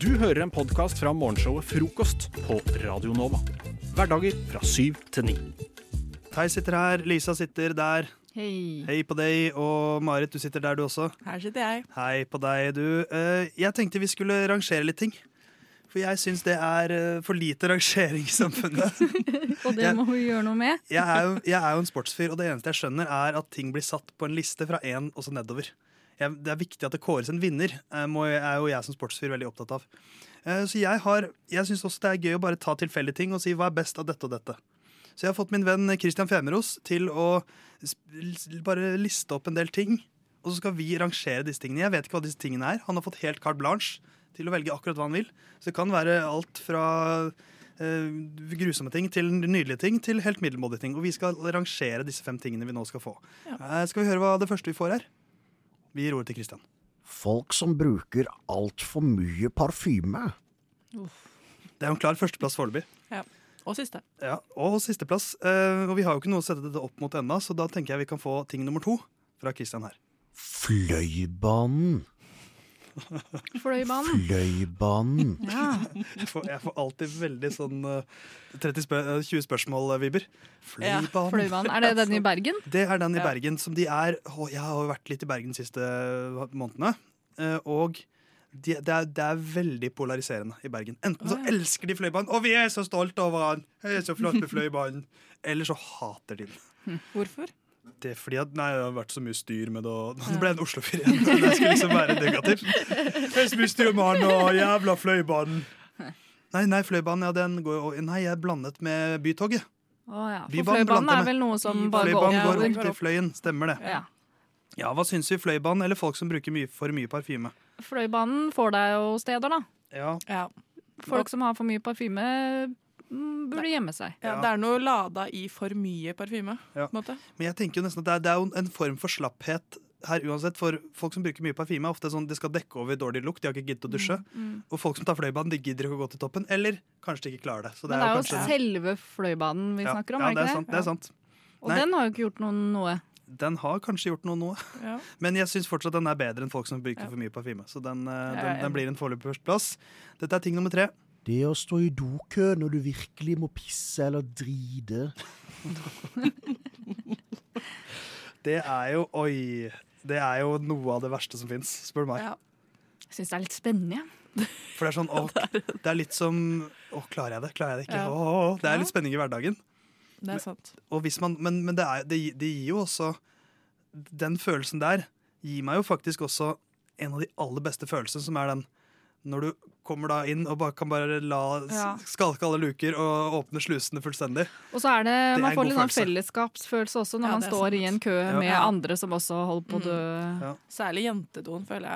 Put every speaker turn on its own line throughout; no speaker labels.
Du hører en podkast fra morgenshowet Frokost på Radio Nova. Hverdager fra syv til ni.
Theis sitter her, Lisa sitter der.
Hei.
Hei på deg. Og Marit, du sitter der du også.
Her sitter jeg.
Hei på deg, du. Eh, Jeg tenkte vi skulle rangere litt ting. For jeg syns det er eh, for lite rangering i samfunnet.
Og det
Jeg-
må hun gjøre noe med.
Jeg er, jo, jeg er jo en sportsfyr, og det eneste jeg skjønner, er at ting blir satt på en liste fra én og så nedover. Jeg, det er viktig at det kåres en vinner, eh, må, er jo jeg som sportsfyr veldig opptatt av. Eh, Så jeg, har- jeg syns også det er gøy å bare ta tilfeldige ting og si hva er best av dette og dette. Så jeg har fått min venn Christian Femeros til å sp- bare liste opp en del ting. Og så skal vi rangere disse tingene. Jeg vet ikke hva disse tingene er. Han har fått helt carte blanche til å velge akkurat hva han vil. Så det kan være alt fra eh, grusomme ting til nydelige ting til helt middelmådige ting. Og vi skal rangere disse fem tingene vi nå skal få. Eh, skal vi høre hva det første vi får er? Vi gir ordet til Christian.
Folk som bruker altfor mye parfyme.
Det er jo en klar førsteplass foreløpig.
Og siste.
Ja, og sisteplass. Eh, og vi har jo ikke noe å sette dette opp mot ennå, så da tenker jeg vi kan få ting nummer to fra Christian her.
Fløibanen.
Fløibanen.
Fløibanen.
Ja.
Jeg får, jeg får alltid veldig sånn eh, 30 spø eh, 20 spørsmål-viber. Fløibanen.
Fløibanen. Er det den i Bergen?
Det er den i
Ja.
Bergen som de er å, Jeg har jo vært litt i Bergen de siste månedene. eh, Og de, det, er, det er veldig polariserende i Bergen. Enten så
Å, ja.
elsker de Fløibanen, og vi er så stolte over han! Jeg er så flott med Fløibanen! Eller så hater de den.
Hvorfor?
Det er fordi at, nei, det har vært så mye styr med det, og nå ble jeg en Oslo-fyr igjen. Det skulle liksom være negativt. Det er så mye styr med han og jævla Fløibanen. Nei, nei, Fløibanen, ja, den går jo Nei, jeg er blandet med Bytoget.
Å ja. For
Bybanen
Fløibanen
blander
er
meg.
vel noe som bare går
Mm, Fløibanen går
over.
opp til Fløyen, stemmer det.
Ja.
Ja, hva syns vi? Fløibanen eller folk som bruker mye, for mye parfyme?
Fløibanen får deg jo steder, da.
Ja,
Ja.
Folk som har for mye parfyme, mm, burde gjemme seg.
Ja.
Ja, Det er noe lada i for mye parfyme.
Ja.
på en måte.
men jeg tenker jo nesten at det er, det er jo en form for slapphet her uansett. For folk som bruker mye parfyme, er ofte sånn de skal dekke over dårlig lukt, de har ikke giddet å dusje.
Mm,
Og folk som tar Fløibanen, de gidder ikke å gå til toppen, eller kanskje de ikke klarer det. Så det
Men det er jo
kanskje-
selve Fløibanen vi
Ja,
snakker om,
ja,
er det
er
ikke
sant,
det?
det er sant.
Og
Nei.
den har jo ikke gjort noen noe.
Den har kanskje gjort noe nå,
Ja.
men jeg syns fortsatt den er bedre enn folk som bruker
Ja.
for mye parfyme. Så den, eh,
Jeg er
den, den
enig.
blir en foreløpig førsteplass. Dette er ting nummer tre.
Det å stå i dokø når du virkelig må pisse eller drite.
Det er jo Oi! Det er jo noe av det verste som fins, spør du meg.
Ja.
Jeg syns det er litt spennende. jeg.
For det er sånn, å, det er litt som Å, klarer jeg det? Klarer jeg det ikke?
Ja.
Å, å, å. Det er litt spenning i hverdagen.
Det er sant.
Og hvis man, men men det, er, det, gi- det gir jo også Den følelsen der gir meg jo faktisk også en av de aller beste følelsene, som er den når du kommer da inn og bare, kan bare la s-
Ja.
skalke alle luker og åpne slusene fullstendig.
Og så er det,
Det er
Man
en
får
god
litt sånn
følelse.
fellesskapsfølelse også når
Ja,
man
det er
står
sant.
i en kø
Ja.
med
Ja. Mm.
andre som også holder på å dø.
Ja.
Særlig jentedoen føler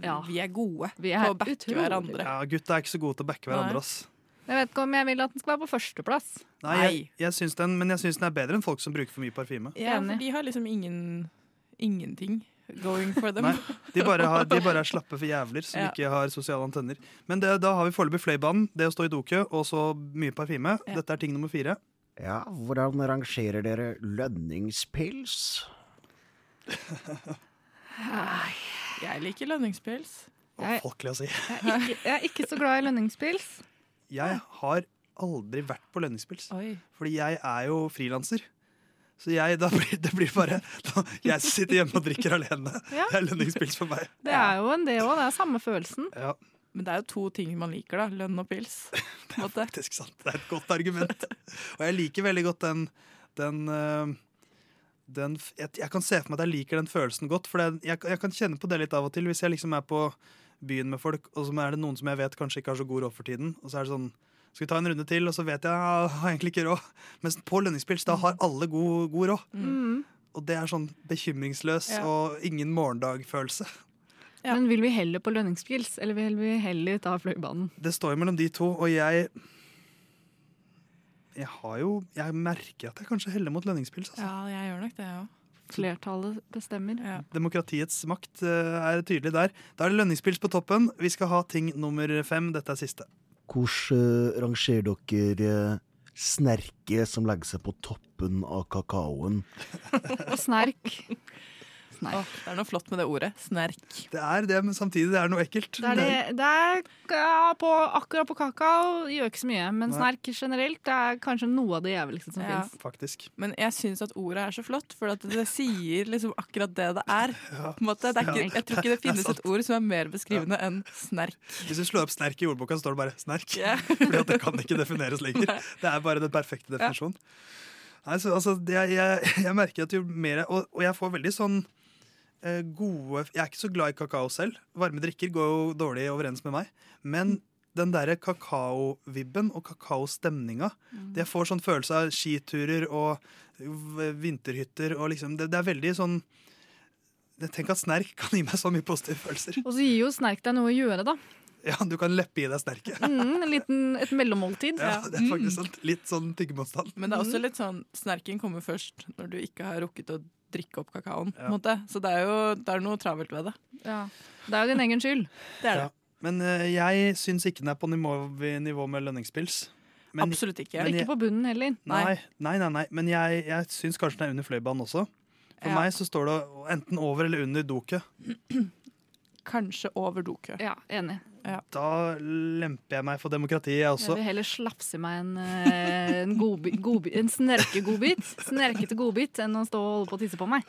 jeg
Ja.
vi er gode
Vi
på
er
å backe
utrolig
hverandre.
Ja, Gutta er ikke så gode til å backe hverandre.
Nei.
Ass.
Jeg vet ikke om jeg vil at den skal være på førsteplass.
Nei, jeg, jeg syns den, Men jeg syns den er bedre enn folk som bruker for mye parfyme.
Ja,
Enig.
for de har liksom ingen ingenting going for dem.
Nei, de bare, har, de bare er slappe for jævler som
Ja.
ikke har sosiale antenner. Men det, da har vi foreløpig Fløibanen, det å stå i dokø og så mye parfyme.
Ja.
Dette er ting nummer fire.
Ja, hvordan rangerer dere lønningspils?
Jeg liker lønningspils.
Å,
Jeg-
folkelig å si.
Jeg er ikke, jeg er ikke så glad i lønningspils.
Jeg har aldri vært på lønningspils,
Oi.
fordi jeg er jo frilanser. Så jeg, da blir, det blir bare da, Jeg sitter hjemme og drikker alene.
Ja.
Det er lønningspils for meg.
Det er jo en det òg. Det er samme følelsen.
Ja,
Men det er jo to ting man liker, da. Lønn og pils. på en måte.
faktisk sant. Det er et godt argument. Og jeg liker veldig godt den, den, øh, den f- jeg, jeg kan se for meg at jeg liker den følelsen godt, for det, jeg, jeg kan kjenne på det litt av og til. Hvis jeg liksom er på byen med folk, og så er det noen som jeg vet kanskje ikke har så god råd for tiden, og så er det sånn skal vi ta en runde til, og så vet jeg jeg har egentlig ikke råd. Mens på lønningspils da har alle god, god råd.
Mm.
Og det er sånn bekymringsløs
Ja.
og ingen morgendag-følelse.
Ja.
Men vil vi heller på lønningspils, eller vil vi heller ta fløibanen?
Det står jo mellom de to, og jeg Jeg har jo Jeg merker at jeg kanskje heller mot lønningspils. Altså.
Ja, jeg gjør nok det, jeg òg.
Flertallet bestemmer.
Ja.
Demokratiets makt eh, er tydelig der. Da er det lønningspils på toppen. Vi skal ha ting nummer fem. Dette er siste.
Hvordan eh, rangerer dere eh, snerke som legger seg på toppen av kakaoen?
Og snerk. Snerk.
Åh, det er noe flott med det ordet. Snerk.
Det er det, men samtidig det er noe ekkelt.
Det er, det, det er ja, på, akkurat på kakao gjør ikke så mye, men
Nei.
snerk generelt det er kanskje noe av det jævligste som
Ja.
fins.
Faktisk.
Men jeg syns at ordet er så flott, for at det sier liksom akkurat det det er. På en måte. Det er ikke, jeg tror ikke det
er
finnes
sant.
et ord som er mer beskrivende enn snerk.
Hvis du slår opp snerk i ordboka, så står det bare 'snerk'.
Ja.
Fordi at det kan ikke defineres lenger. Det er bare den perfekte definisjonen. Nei, så, altså, det, jeg, jeg, jeg merker at jo mer jeg, og, og jeg får veldig sånn eh, gode Jeg er ikke så glad i kakao selv. Varme drikker går jo dårlig overens med meg. Men den derre kakaovibben og kakaostemninga Jeg får sånn følelse av skiturer og v- vinterhytter og liksom Det, det er veldig sånn Tenk at snerk kan gi meg så mye positive følelser.
Og så gir jo snerk deg noe å gjøre, da.
Ja, du kan leppe i deg snerket.
Mm, en liten, et mellommåltid.
Ja, det er faktisk sant. Litt sånn tyggemotstand.
Mm. Men det er også litt sånn snerken kommer først når du ikke har rukket å drikke opp kakaoen. på en
Ja.
måte. Så det er jo det er noe travelt ved det.
Ja. Det er jo din egen skyld.
Det er det.
Ja. Men eh, jeg syns ikke den er på nivå, nivå med lønningspils. Men,
Absolutt ikke.
Men jeg-
Ikke på bunnen heller.
Nei, nei, nei, nei. Men jeg, jeg syns kanskje den er under fløibanen også. For
Ja.
meg så står det enten over eller under doket.
Kanskje over dokø.
Ja, enig.
Da lemper jeg meg for demokratiet, jeg
Jeg
også.
vil heller slapse i meg en, eh, en, godbi- godbi- en snerkegodbit Snerkete godbit enn å stå og holde på å tisse på meg.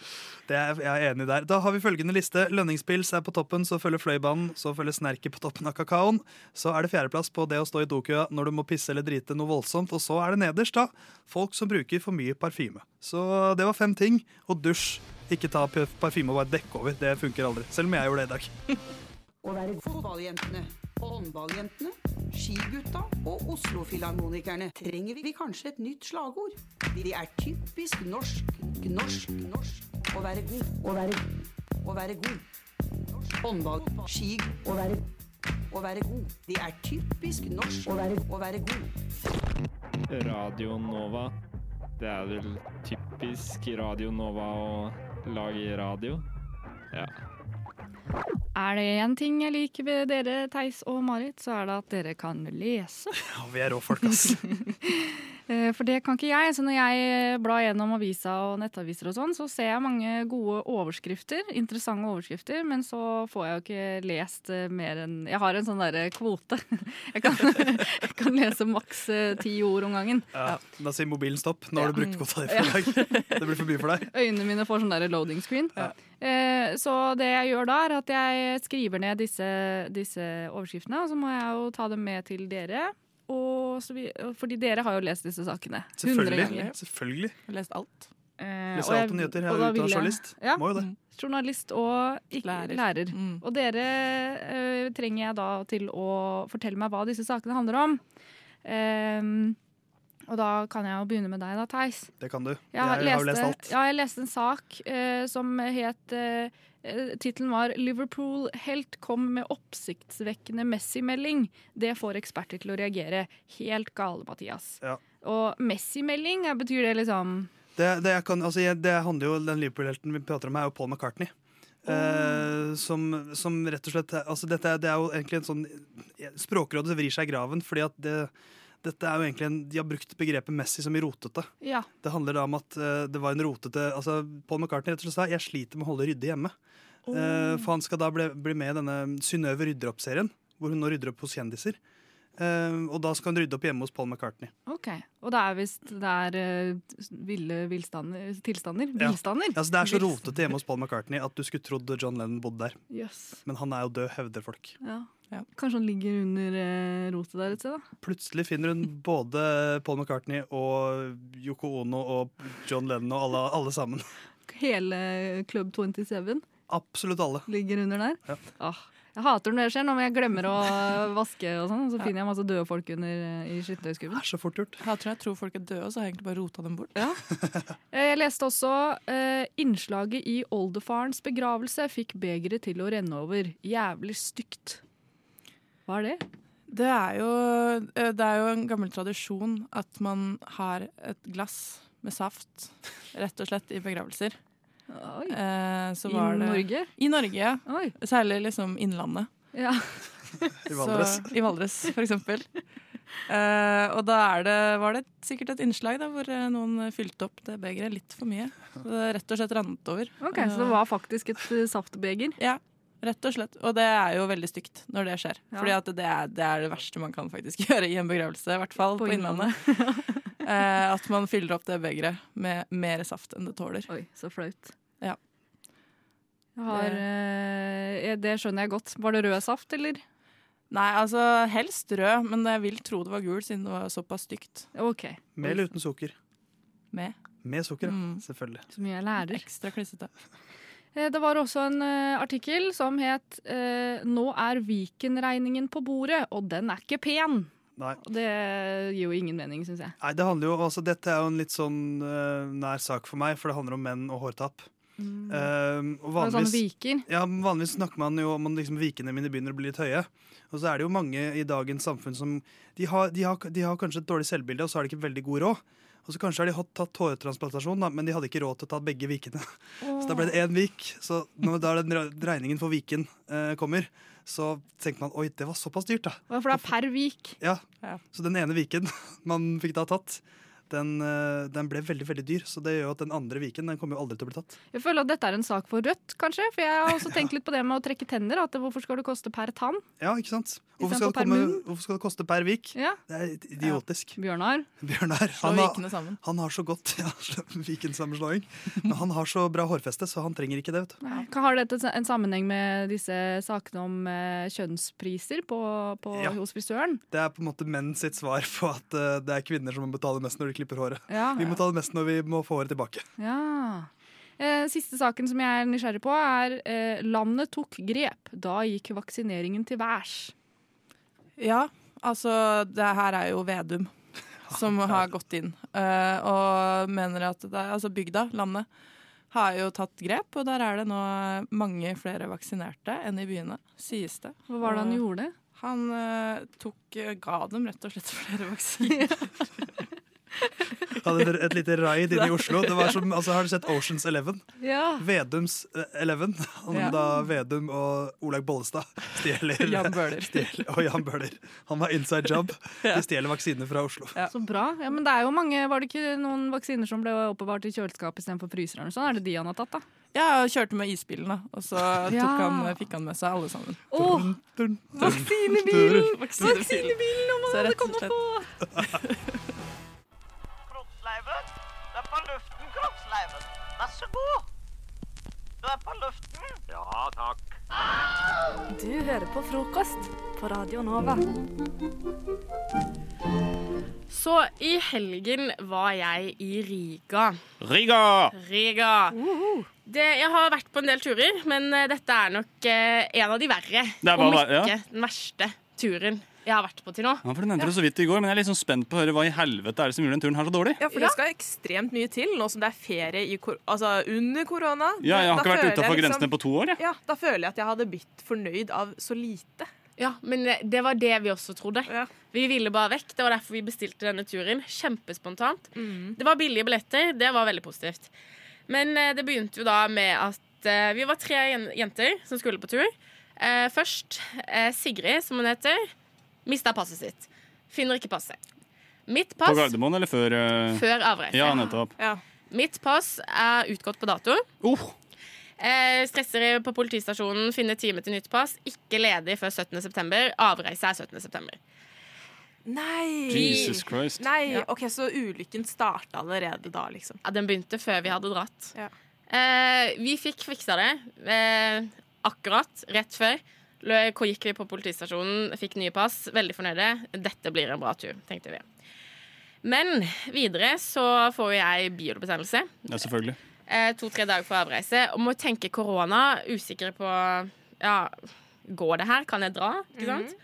Det er, jeg er enig der. Da har vi følgende liste. Lønningspils er på toppen, så følger fløibanen, så følger snerket på toppen av kakaoen. Så er det fjerdeplass på det å stå i dokøa når du må pisse eller drite noe voldsomt. Og så er det nederst, da, folk som bruker for mye parfyme. Så det var fem ting. Og dusj. Ikke ta p- parfyme og bare dekke over. Det funker aldri. Selv om jeg gjorde det i dag.
å være fotballjentene, håndballjentene, skigutta og Oslo-filharmonikerne trenger vi kanskje et nytt slagord. De er typisk norsk, norsk, norsk å være god, å være, å være god. Norsk Håndball, ski, å være, å være god. De er typisk norsk å være, å være god.
Radio Nova. Det er vel typisk Radio Nova å lage radio. Ja.
Er det én ting jeg liker ved dere, Theis og Marit, så er det at dere kan lese.
Ja, vi er rå folk, ass.
Eh, For det kan ikke jeg. Så når jeg blar gjennom avisa og nettaviser og sånn, så ser jeg mange gode overskrifter, interessante overskrifter, men så får jeg jo ikke lest eh, mer enn Jeg har en sånn derre kvote. Jeg kan, jeg kan lese maks eh, ti ord om gangen.
Ja, da sier mobilen stopp. Nå har du brukt kvota di for i dag. Det blir for mye for deg.
Øynene mine får sånn der loading screen.
Ja.
Eh, så det jeg gjør da, er at jeg skriver ned disse, disse overskriftene, og så må jeg jo ta dem med til dere. Og så vi, fordi dere har jo lest disse sakene. 100
Selvfølgelig.
ganger.
Selvfølgelig.
Jeg har lest alt.
Eh,
Leser alt på nyheter. Jeg er
da
utdannet
vil
journalist.
Ja, mm.
Må jo det.
journalist og ikke, lærer.
Lærer. Mm.
Og dere eh, trenger jeg da til å fortelle meg hva disse sakene handler om. Ehm, og da kan jeg jo begynne med deg da, Theis.
Det kan du.
Jeg har,
jeg har jo
leste,
lest alt.
Ja, jeg leste en sak eh, som het eh, eh, Tittelen var 'Liverpool-helt kom med oppsiktsvekkende Messi-melding'. Det får eksperter til å reagere. Helt gale, Mathias.
Ja.
Og Messi-melding, eh, betyr det liksom
Det, det, jeg kan, altså, jeg, det handler jo, Den Liverpool-helten vi prater om, er jo Paul McCartney. Eh, som, som rett og slett altså dette, er- Det er jo egentlig en sånn Språkrådet vrir seg i graven, fordi at det, dette er jo egentlig en, de har brukt begrepet Messi som i rotete.
Ja.
Det handler da om at eh, det var en rotete altså Paul McCartney rett og slett sa jeg sliter med å holde ryddig hjemme.
Mm.
Eh, for han skal da bli, bli med i denne Synnøve rydder opp-serien, hvor hun nå rydder opp hos kjendiser. Eh, og da skal hun rydde opp hjemme hos Paul McCartney.
OK. Og det er visst det er eh, ville villstander Tilstander?
Ja.
Villstander?
Altså, det er så rotete hjemme hos Paul McCartney at du skulle trodd John Lennon bodde der.
Jøss.
Men han er jo død, hevder folk.
Ja.
Ja.
Kanskje han ligger under eh, rotet der et sted, da?
Plutselig finner hun både Paul McCartney og Yoko Ono og John Lennon og alle, alle sammen.
Hele Club 27
Absolutt alle.
ligger under der.
Ja.
Åh, jeg hater når det skjer, når jeg glemmer å vaske og sånn, og så finner jeg masse døde folk under eh, i
Det
skytterhøyskubben.
er så fort gjort.
Jeg tror jeg tror folk er døde, og så har jeg egentlig bare rota dem bort.
Eh, Jeg leste også eh, innslaget i oldefarens begravelse fikk begeret til å renne over. Jævlig stygt. Hva er det?
Det er, jo, eh, det er jo en gammel tradisjon at man har et glass med saft, rett og slett, i begravelser.
Oi.
Eh, så
I
var det,
Norge?
I Norge, ja.
Oi.
Særlig liksom Innlandet.
Ja.
I Valdres.
Så, I Valdres, for eksempel. Eh, og da er det, var det sikkert et innslag da, hvor eh, noen fylte opp det begeret litt for mye. Så det rett og slett rant over.
Ok, Så det var faktisk et eh, saftbeger.
Ja, rett og slett. Og det er jo veldig stygt når det skjer.
Ja.
Fordi at det er, det er det verste man kan faktisk gjøre i en begravelse, i hvert fall
På
på, Innlandet. Eh, at man fyller opp det begeret med mer saft enn det tåler.
Oi, så flaut.
Ja.
Jeg har, eh, eh, det skjønner jeg godt. Var det rød saft, eller?
Nei, altså helst rød, men jeg vil tro det var gul siden det var såpass stygt
OK.
Med eller uten sukker?
med.
Med sukker, ja.
Mm.
Selvfølgelig.
Så mye jeg lærer.
Ekstra klissete.
Eh, Det var også en eh, artikkel som het eh, 'Nå er Viken-regningen på bordet', og den er ikke pen.
Nei.
Og det gir jo ingen mening, syns jeg.
Nei, det handler jo, altså Dette er jo en litt sånn eh, nær sak for meg, for det handler om menn og hårtapp. Eh, og
Mm. Det var sånn
vanligvis,
viker.
ja, vanligvis snakker man jo om at liksom, vikene mine begynner å bli litt høye. Og så er det jo mange i dagens samfunn som De har, de har, de har kanskje et dårlig selvbilde, og så har de ikke veldig god råd. Og så kanskje har de hatt, tatt hårtransplantasjon, da, men de hadde ikke råd til å ta begge vikene. Så da ble det én vik. Så når da den re- regningen for viken eh, kommer, så tenker man oi, det var såpass dyrt, da.
Åh, For det er per vik.
Ja,
Ja.
Så den ene viken man fikk da tatt, den, eh, den ble veldig veldig dyr. Så det gjør jo at den andre viken den kommer jo aldri til å bli tatt.
Jeg føler at dette er en sak for Rødt, kanskje. For jeg har også tenkt litt på det med å trekke tenner. At hvorfor skal det koste per tann?
Ja, ikke sant? Hvorfor
Istedenfor
skal, det
per
komme,
munn?
hvorfor skal det koste per vik?
Ja,
Det er idiotisk.
Bjørnar.
Bjørnar
Slå
han har,
vikene sammen.
han har så godt ja, vikensammenslåing. Men han har så bra hårfeste, så han trenger ikke det. vet du.
Nei. Hva Har dette en sammenheng med disse sakene om eh, kjønnspriser på, på,
Ja.
hos frisøren?
Det er på en måte menn sitt svar på at eh, det er kvinner som må betale mest når de klipper håret.
Ja.
Vi må ta det mest når vi må få håret tilbake.
ja. Eh, Siste saken som jeg er nysgjerrig på, er eh, 'Landet tok grep'. Da gikk vaksineringen til værs.
Ja, altså det her er jo Vedum som har gått inn eh, og mener at det er, altså bygda, landet, har jo tatt grep, og der er det nå mange flere vaksinerte enn i byene, sies det.
Hva var det han gjorde?
Han eh, tok, eh, ga dem rett og slett flere vaksiner.
Hadde et, et lite raid inne i Oslo. Det var som, altså, har du sett Oceans Eleven?
Ja.
Vedums eh, Eleven, om
Ja.
da Vedum og Olaug Bollestad stjeler
Jan Bøhler.
stjeler- Og Jan Bøhler. Han har inside job. De stjeler vaksiner fra Oslo.
Ja.
Så bra. Ja, men det er jo mange, Var det ikke noen vaksiner som ble oppbevart i kjøleskap istedenfor fryser? eller noe sånt? sånn? Er det de han har tatt, da?
Ja, og kjørte med isbilen, da, og så tok
Ja.
han, eh, fikk han med seg alle sammen.
Åh,
Dun, dun.
vaksinebilen!
Vaksinebilen.
Vaksinebilen! Om
Så
han hadde
rett og
kommet
slett-
på!
Kroppsleiven. Det er på luften, kroppsleiven. Vær så god. Du er på luften. Ja, takk.
Du hører på frokost på Radio Nova.
Så i helgen var jeg i Riga.
Riga!
Riga.
Uhuh.
Det, jeg har vært på en del turer, men eh, dette er nok eh, en av de verre.
Det var
Om
ver-
ikke
ja.
den verste turen jeg har vært på til nå.
Ja, for Du nevnte det så vidt i går, men jeg er liksom spent på å høre hva i helvete er det som gjorde den turen her så dårlig.
Ja, for det skal ekstremt mye til nå som det er ferie i, kor- altså under korona.
Ja, Jeg har ikke vært utafor grensene
liksom,
på to år. jeg.
Ja, Da føler jeg at jeg hadde blitt fornøyd av så lite.
Ja, Men eh, det var det vi også trodde.
Ja.
Vi ville bare vekk. Det var derfor vi bestilte denne turen. Kjempespontant. Det var billige billetter. Det var veldig positivt. Men eh, det begynte jo da med at eh, vi var tre jen- jenter som skulle på tur. Eh, først eh, Sigrid, som hun heter, mista passet sitt. Finner ikke passet. Mitt
På
pass
Gardermoen eller før? eh,
før avreise.
Ja, nettopp.
Ja.
Mitt pass er utgått på dato.
Oh,
Eh, stresser på politistasjonen, finner time til nytt pass. Ikke ledig før 17.9. Avreise er 17.9.
Nei!
Jesus Christ.
Nei,
Ja.
ok, Så ulykken starta allerede da, liksom.
Ja, den begynte før vi hadde dratt.
Ja.
Eh, vi fikk fiksa det eh, akkurat, rett før. Lø- Hvor gikk vi på politistasjonen, fikk nye pass, veldig fornøyde. Dette blir en bra tur, tenkte vi. Men videre så får jo jeg biodebetennelse.
Ja, selvfølgelig.
Eh, To-tre dager for avreise. Og må tenke korona, usikre på ja, Går det her? Kan jeg dra? Ikke
Mhm.
sant?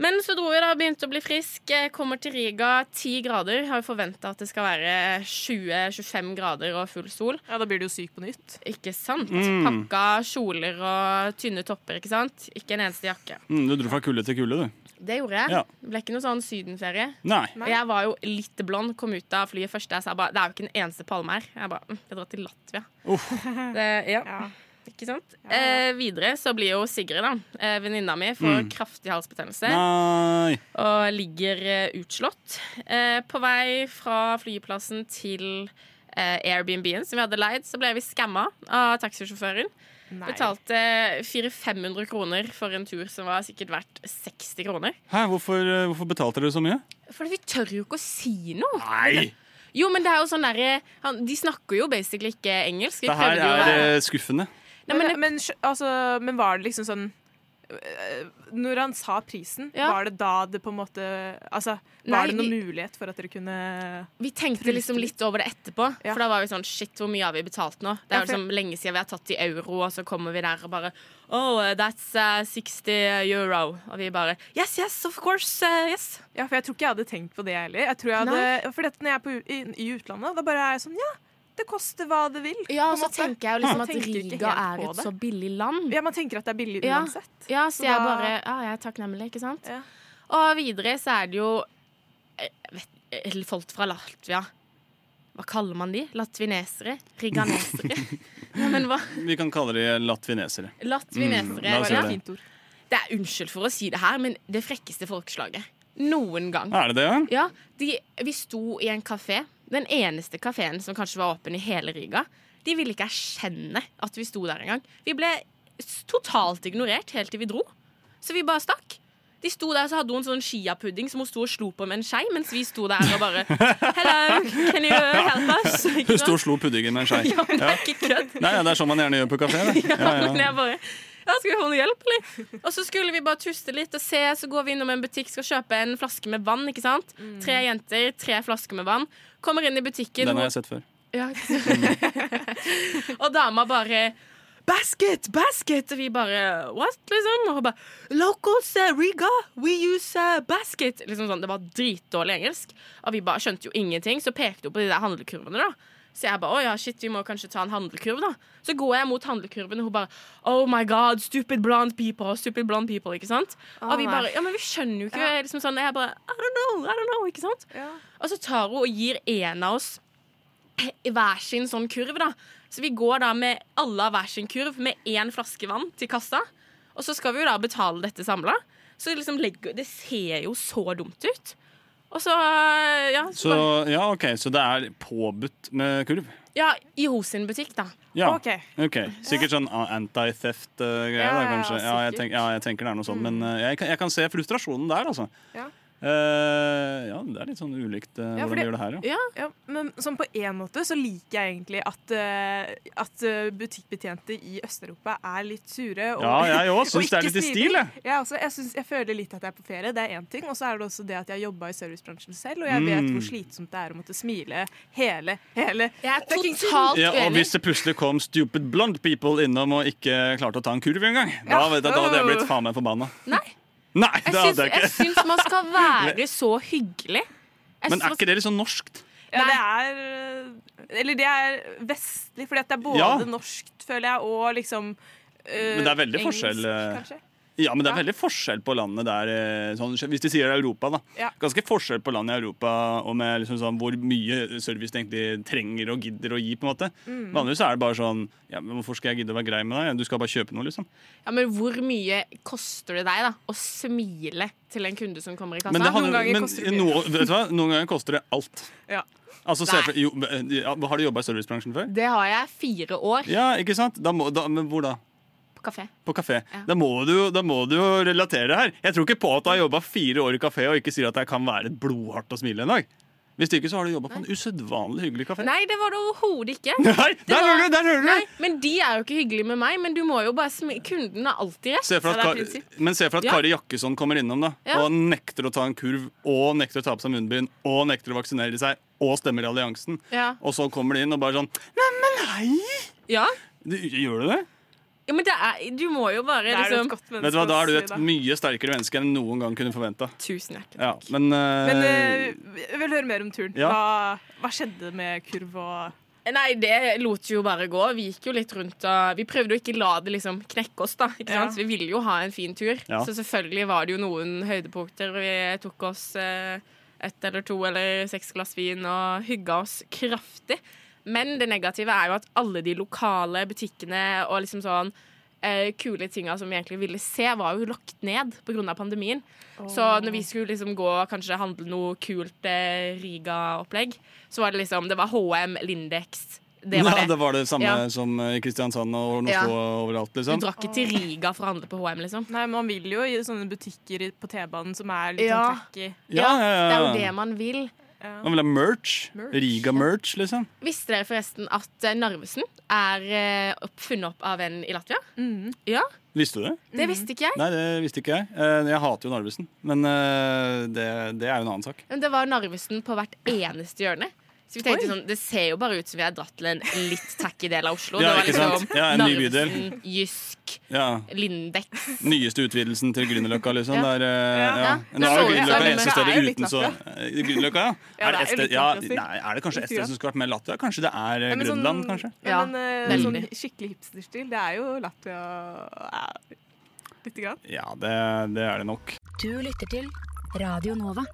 Men så dro jeg da, begynte å bli frisk. eh, Kommer til Riga, 10 grader. Har jo forventa at det skal være 20-25 grader og full sol.
Ja, Da blir du jo syk på nytt.
Ikke sant?
Mm.
Pakka kjoler og tynne topper, ikke sant? Ikke en eneste jakke.
Mm, du dro fra kulde til kulde, du.
Det gjorde jeg.
Ja.
Det ble ikke noe sånn sydenferie.
Nei.
Og Jeg var jo litt blond, kom ut av flyet først. Jeg sa bare, det er jo ikke en eneste palme her. Jeg bare, «Mm, jeg drar til Latvia.
Uff.
Det, ja. Ikke sant? Eh, videre så blir jo Sigrid, da, eh, venninna mi, får
Mm.
kraftig halsbetennelse.
Nei.
Og ligger eh, utslått. Eh, på vei fra flyplassen til eh, Airbnb-en som vi hadde leid, så ble vi skamma av taxisjåføren.
Nei.
Betalte 400-500 kroner for en tur som var sikkert verdt 60 kroner.
Hæ, hvorfor, eh, hvorfor betalte dere så mye?
For vi tør jo ikke å si noe.
Nei!
Jo, men det er jo sånn derre han- De snakker jo basically ikke engelsk. Vi
Det her
prøvde jo å
er
være-
eh, skuffende.
Nei,
men, men, skj- altså, men var det liksom sånn øh, Når han sa prisen, var det da det på en måte Altså,
Nei,
var det noen
vi-
mulighet for at dere kunne
Vi tenkte liksom litt over det etterpå.
Ja.
For da var vi sånn Shit, hvor mye har vi betalt nå? Det
Ja,
er jo
for-
liksom lenge siden vi har tatt i euro, og så kommer vi der og bare Oh, uh, that's uh, 60 euro. Og vi bare Yes, yes, of course. uh, yes.
Ja, for jeg tror ikke jeg hadde tenkt på det heller. Jeg tror jeg hadde, for dette, når jeg er på, u- i, i utlandet, da bare er jeg sånn Ja, det koster hva det vil.
Ja,
på
og så
en måte.
tenker jeg jo liksom
Man
at
tenker ikke
Riga
helt
er
på
et
det.
så billig land.
Ja, man tenker at det er billig
Ja.
uansett.
Ja, så,
Så
jeg
da-
bare Ja, jeg er takknemlig, ikke sant? Og videre så er det jo eh, vet, eh, folk fra Latvia. Hva kaller man de? Latvinesere? Riganesere? ja, men hva?
Vi kan kalle de latvinesere.
Latvinesere.
Mm, la oss
ja.
gjøre det.
Det er unnskyld for å si det her, men det frekkeste folkeslaget. Noen gang.
Er det det, ja?
Ja, de, vi sto i en kafé. Den eneste kafeen som kanskje var åpen i hele Riga. De ville ikke erkjenne at vi sto der engang. Vi ble s- totalt ignorert helt til vi dro. Så vi bare stakk. De sto der, så hadde hun sånn chiapudding som hun sto og slo på med en skei, mens vi sto der og bare Hello, can you help us? Ikke
Hun sto og
sant?
slo puddingen med en skei.
Ja, men det
Ja.
er ikke kødd.
Nei, ja, det er sånn man gjerne gjør på kafé. det.
Ja,
Ja,
men
ja.
jeg bare ja, Skal vi få noe hjelp, eller? Og så skulle vi bare tuste litt og se, så går vi innom en butikk, skal kjøpe en flaske med vann. ikke sant? Tre jenter, tre flasker med vann. Kommer inn i butikken,
Den har jeg sett før.
ja, ikke sant? og dama bare Basket, basket! Og vi bare What? liksom? Og hun bare Locals eh, Riga, we use eh, basket! Liksom sånn, Det var dritdårlig engelsk. Og vi bare skjønte jo ingenting, så pekte hun på de der handlekurvene. da så jeg bare, å ja, shit, vi må kanskje ta en handelkurv da Så går jeg mot handelkurven og hun bare Oh my god, stupid blonde people Stupid blonde people, ikke sant?
Å,
og vi
nei.
bare, ja, men vi skjønner jo ikke
Ja.
liksom sånn, Jeg bare, I don't know, I don't know, ikke sant? Og så tar hun og gir en av oss hver sin sånn kurv, da. Så vi går da med alle av hver sin kurv med én flaske vann til kassa. Og så skal vi jo da betale dette samla. Så liksom legger, det ser jo så dumt ut. Og så Ja,
Så, ja, ok, så det er påbudt med kurv?
ja i hos sin butikk, da.
Ja. ok. Sikkert sånn ah, anti-theft-greie,
Ja,
da,
ja,
kanskje. Ja jeg, tenk, ja, jeg tenker det er noe sånt, men eh, jeg kan, jeg kan se frustrasjonen der, altså.
Ja.
Eh, ja, det er litt sånn ulikt eh,
Ja,
hvordan
fordi-
de gjør det her, ja.
Ja, men sånn på en måte så liker jeg egentlig at, eh, at eh, butikkbetjente i Øst-Europa er litt sure. Og,
Ja, jeg også
og
synes det er
ikke
litt i stil,
smidige.
jeg.
Jeg, også, jeg, synes, jeg føler litt at jeg er på ferie, det er én ting. Og så er det også det at jeg jobba i servicebransjen selv, og jeg vet
Mm.
hvor slitsomt det er å måtte smile hele, hele Jeg er
ja, og hvis det plutselig kom stupid blonde people innom og ikke klarte å ta en kurv engang, da,
Ja.
vet jeg, da hadde jeg blitt faen meg forbanna.
Nei.
Nei, det
Jeg syns,
hadde jeg
jeg
ikke.
syns man skal være så hyggelig.
Men
Jeg syns man
er ikke det litt sånn norskt?
Ja, det er eh, Eller det er vestlig, fordi at det er både
Ja.
norskt, føler jeg, og liksom eh,
Men det er veldig
engelsk,
forskjell eh,
kanskje.
Ja, men det er veldig forskjell på landet der eh, sånn, Hvis de sier Europa, da.
Ja.
Ganske forskjell på landet i Europa og med liksom sånn, hvor mye service de egentlig trenger og gidder å gi. på en måte
Mm.
Vanligvis er det bare sånn ja, men Hvorfor skal jeg gidde å være grei med deg? Du skal bare kjøpe noe, liksom.
Ja, men Hvor mye koster det deg da å smile til en kunde som kommer i kassa?
Men, det handler, men noe, vet du hva? noen ganger koster det alt.
Ja.
Altså, se
Nei.
for, jo, men, ja, har du jobba i servicebransjen før?
Det har jeg fire år
Ja, ikke sant? Da må, da, men hvor da?
på kafé.
På kafé. Da, må du, jo- da må du jo relatere det her. Jeg tror ikke på at du
Mm.
har jobba fire år i kafé og ikke sier at det kan være blodhardt å smile en dag. Hvis ikke så har du jobba på en usedvanlig hyggelig kafé.
Nei, det var det overhodet ikke.
Nei,
Det
der
var-
hører du, der hører du!
Nei, men de er jo ikke hyggelige med meg, men du må jo bare smi Kunden har alltid rett.
Se for at
Ja,
Kar
det er prinsipp.
men se for at
Ja.
Kari Jakkesson kommer innom da
Ja.
og nekter å ta en kurv og nekter å ta på seg munnbind og nekter å vaksinere seg og stemmer i alliansen.
Ja.
Og så kommer de inn og bare sånn
Ja.
Du, gjør du det?
ja, men det er, du må jo bare
Da er du et
liksom
godt
Vet du hva, Da er du et mye sterkere menneske enn jeg noen gang kunne forventa.
Tusen hjertelig
ja, men, eh,
Men eh, jeg vil høre mer om turen.
Ja.
Hva, hva skjedde med kurv og
Nei, det lot vi jo bare gå. Vi gikk jo litt rundt og Vi prøvde jo ikke la det liksom knekke oss, da. Ikke
Ja.
sant? Vi ville jo ha en fin tur.
Ja.
Så selvfølgelig var det jo noen høydepunkter. Vi tok oss eh, ett eller to eller seks glass vin og hygga oss kraftig. Men det negative er jo at alle de lokale butikkene og liksom sånn eh, kule tinga som vi egentlig ville se, var jo lagt ned pga. pandemien. Så
Åh.
når vi skulle liksom gå og kanskje handle noe kult eh, Riga-opplegg, så var det liksom Det var HM, Lindex. Det var det.
Ja, det var det samme
Ja.
som eh, i Kristiansand og Oslo
Ja.
og overalt, liksom.
Du drar ikke til Riga for å handle på HM, liksom.
Nei, man vil jo i sånne butikker i- på T-banen som er litt
Ja.
sånn tacky.
Ja, ja, ja,
Det er
ja.
jo det man vil.
Man vil ha merch.
Merch.
Riga-merch, liksom.
Visste dere forresten at eh, Narvesen er eh, opp- funnet opp av en i Latvia? Ja,
Visste du det?
Det visste ikke jeg.
Nei, det visste ikke jeg. Eh, Jeg hater jo Narvesen, men eh, det, det er jo en annen sak.
Men det var Narvesen på hvert eneste hjørne. Så vi tenkte
Oi.
sånn, Det ser jo bare ut som vi har dratt til en litt tacky del av Oslo.
Ja,
det
ikke
var
sant?
liksom
Ja, en ny bydel.
Narvesen, Jysk,
Ja.
Lindex.
Nyeste utvidelsen til Grünerløkka, liksom.
Ja.
Det er, eh,
Ja.
ja.
Ja.
Men Nå er jo
Det er så-
Grünerløkka eneste
Ja, men det
stedet
er jo litt
uten så Eh, Grünerløkka, ja. Er det, et
Ja, det er jo
sted,
litt
ja
latvisk.
nei, er det kanskje et sted som skulle vært mer Latvia? Kanskje det er eh,
Ja, men sånn-
Grønland, kanskje? Mm.
Ja, men eh,
Veldig.
sånn skikkelig hipsterstil, det er jo Latvia ja, Lite grann.
Ja, det, det er det nok.
Du lytter til Radio Nova.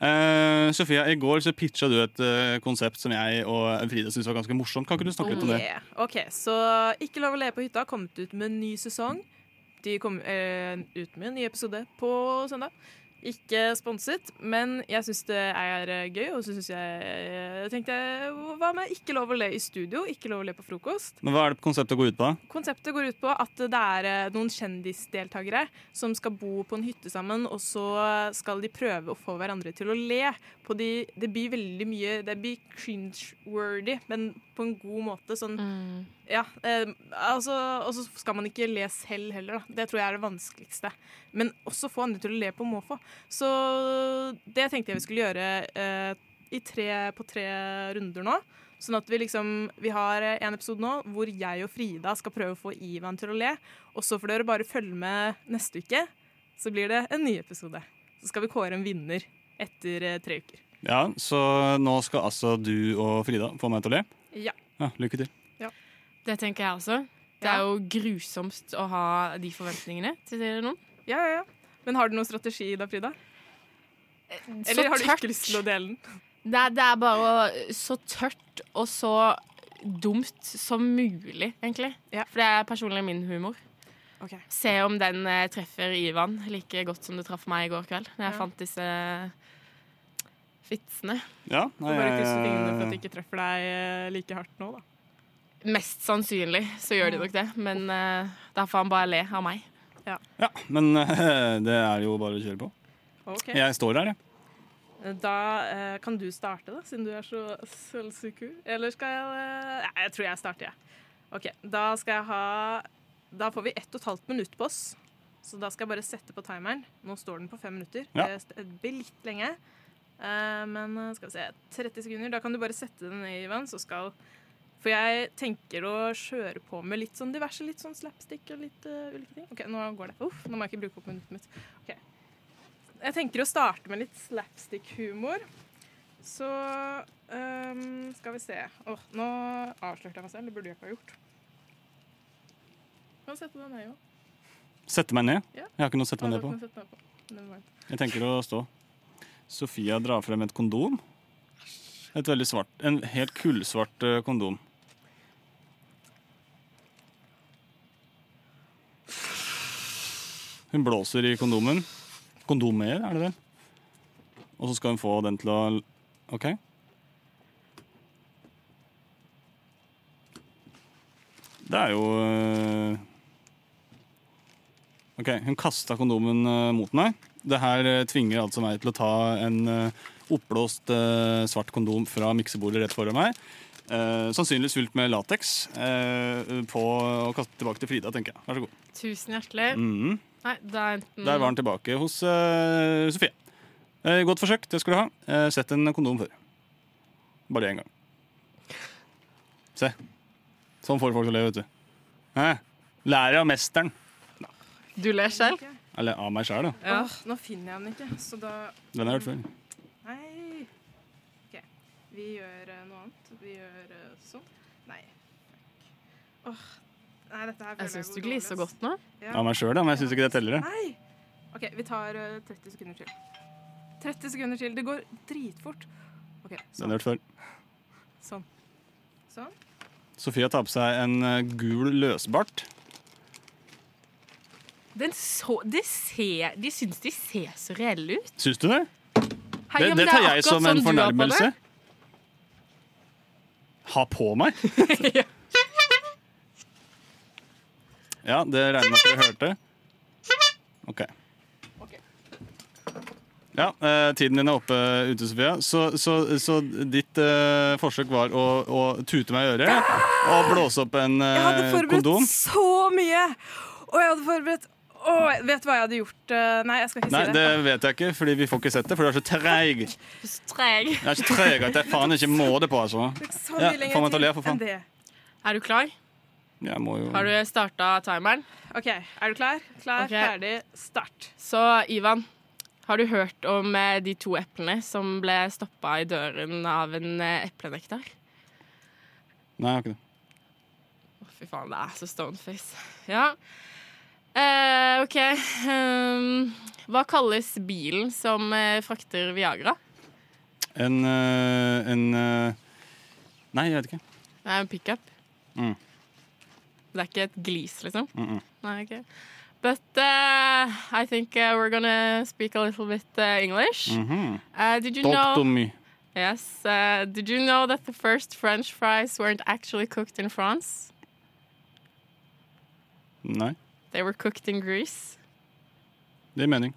Eh, Sofia, i går så pitcha du et eh, konsept som jeg og Frida syntes var ganske morsomt. Kan ikke du snakke litt om det?
Oh, Yeah. OK, så Ikke lov å le på hytta har kommet ut med en ny sesong. De kom eh, ut med en ny episode på søndag. Ikke sponset, men jeg syns det er eh, gøy, og så syns jeg jeg tenkte jeg, Hva med ikke lov å le i studio, ikke lov å le på frokost?
Men Hva er det konseptet går ut på? da?
Konseptet går ut på at det er eh, noen kjendisdeltakere som skal bo på en hytte sammen, og så skal de prøve å få hverandre til å le. På de, det blir veldig mye Det blir cringe-wordy, men på en god måte. Sånn Ja. Eh, altså, og så skal man ikke le selv heller, da. Det tror jeg er det vanskeligste. Men også få andre til å le på måfå. Så det tenkte jeg vi skulle gjøre eh, i tre, på tre runder nå. Sånn at vi liksom Vi har eh, en episode nå hvor jeg og Frida skal prøve å få Ivan til å le. Og så får dere bare følge med neste uke. Så blir det en ny episode. Så skal vi kåre en vinner etter eh, tre uker.
Ja, Så nå skal altså du og Frida få meg til å le.
Ja.
Ja, lykke til.
Det tenker jeg også. Det er jo grusomt å ha de forventningene til noen.
Ja, ja, ja. Men har du noen strategi da, Frida?
så
Eller har du
tørt.
ikke lyst til å dele den?
Det er, det er bare å- så tørt og så dumt som mulig, egentlig. For det er personlig min humor. Se om den eh, treffer Ivan like godt som det traff meg i går kveld, når jeg
Ja.
fant disse fitsene.
Ja,
Nei, bare krysse fingrene for at de ikke treffer deg eh, like hardt nå, da.
Mest sannsynlig så gjør de nok det, men eh, da får han bare le av meg.
Men eh, det er jo bare å kjøre på.
Ok.
Jeg står her, jeg.
Da eh, kan du starte, da, siden du er så sølvsuku. Eller skal jeg eh, Nei, jeg tror jeg starter, jeg. OK. Da skal jeg ha Da får vi ett og et halvt minutt på oss. Så da skal jeg bare sette på timeren. Nå står den på fem minutter.
Ja.
Det st- Det blir litt lenge. Eh, men eh, skal vi se 30 sekunder. Da kan du bare sette den ned, Ivan, så skal For jeg tenker å kjøre på med litt sånn diverse. Litt sånn slapstick og litt eh, ulike ting. OK, nå går det. Uff, nå må jeg ikke bruke opp minuttet mitt. Ok. Jeg tenker å starte med litt slapstick-humor. Så øhm, skal vi se. Åh, nå avslørte jeg meg selv. Det burde jeg ikke ha gjort. Kan sette den her, jo.
Sette meg ned?
Ja.
Jeg har ikke noe å sette meg
Ja,
ned
da
på.
kan du sette den her på. Never mind.
Jeg tenker å stå. Sofia drar frem et kondom. Et veldig svart, En helt kullsvart eh, kondom. Hun blåser i kondomen. Kondomer, er det vel? Og så skal hun få den til å l- OK. Det er jo eh, Ok, Hun kasta kondomen eh, mot meg. Det her eh, tvinger altså meg til å ta en eh, oppblåst eh, svart kondom fra miksebordet rett foran meg. Eh, sannsynligvis fylt med lateks. eh, på å kaste tilbake til Frida, tenker jeg. Vær så god.
Tusen hjertelig.
Mhm.
Nei, da er enten
Der var den tilbake hos eh, Sofie. Eh, godt forsøk, det skal du ha. Eh, sett en kondom før. Bare det én gang. Se. Sånn får folk til å le, vet du. Hæ? Lærer av mesteren.
Du ler selv?
Eller av meg sjæl, da.
Åh, nå finner jeg den ikke, så da
Den har jeg hørt før.
Nei. OK. Vi gjør eh, noe annet. Vi gjør eh, sånn. Nei. Fuck. Åh. Nei, dette her
Jeg
føler
syns
går
du gliser
dårlig, ass.
godt nå.
Ja.
Av meg sjøl, da. Men jeg syns ikke det teller. det.
Nei! OK, vi tar eh, 30 sekunder til. 30 sekunder til. Det går dritfort. OK,
Den har jeg hørt før.
sånn. Sånn.
Sofia tar på seg en eh, gul løsbart.
Den så, det ser, de syns de ser så reelle ut.
Syns du det?
Hei,
det,
ja, men
det
det er
tar jeg
akkurat
som
sånn
en
du har på deg.
fornærmelse. Ha på meg? ja, det regner jeg med at dere hørte. OK. Ja, eh, tiden din er oppe ute, Sofia. Så, så, så ditt eh, forsøk var å, å tute meg i øret og blåse opp en eh,
Jeg hadde forberedt
kondom.
så mye! Og jeg hadde forberedt Å, vet du hva jeg hadde gjort? Eh, Nei, jeg skal ikke
Nei,
si det.
det vet jeg ikke, fordi vi får ikke sett det, for du er så treig. Jeg
Treg.
er så altså. treig at jeg faen ikke må det på, altså. Ja, få meg til å le, for faen.
Er du klar?
Jeg må jo
Har du starta timeren?
OK, er du klar? Klar,
Ok.
ferdig, start.
Så Ivan, har du hørt om eh, de to eplene som ble stoppa i døren av en eh, eplenektar?
Nei, jeg har ikke det.
Å, fy faen, det er så stoneface. Ja. Eh, OK. Ehm, hva kalles bilen som eh, frakter Viagra?
En, eh, en eh, Nei, jeg vet ikke.
Det er en pickup.
Mm.
Det er ikke et glis, liksom?
Mm -mm.
Nei, ok. But uh, I think uh, we're gonna speak a little bit uh, English.
Mhm.
Uh, did you
Talk
know?
to me.
Yes. Uh, did you know that the first French fries weren't actually cooked in France?
Nei,
They were cooked in Greece.
det gir mening.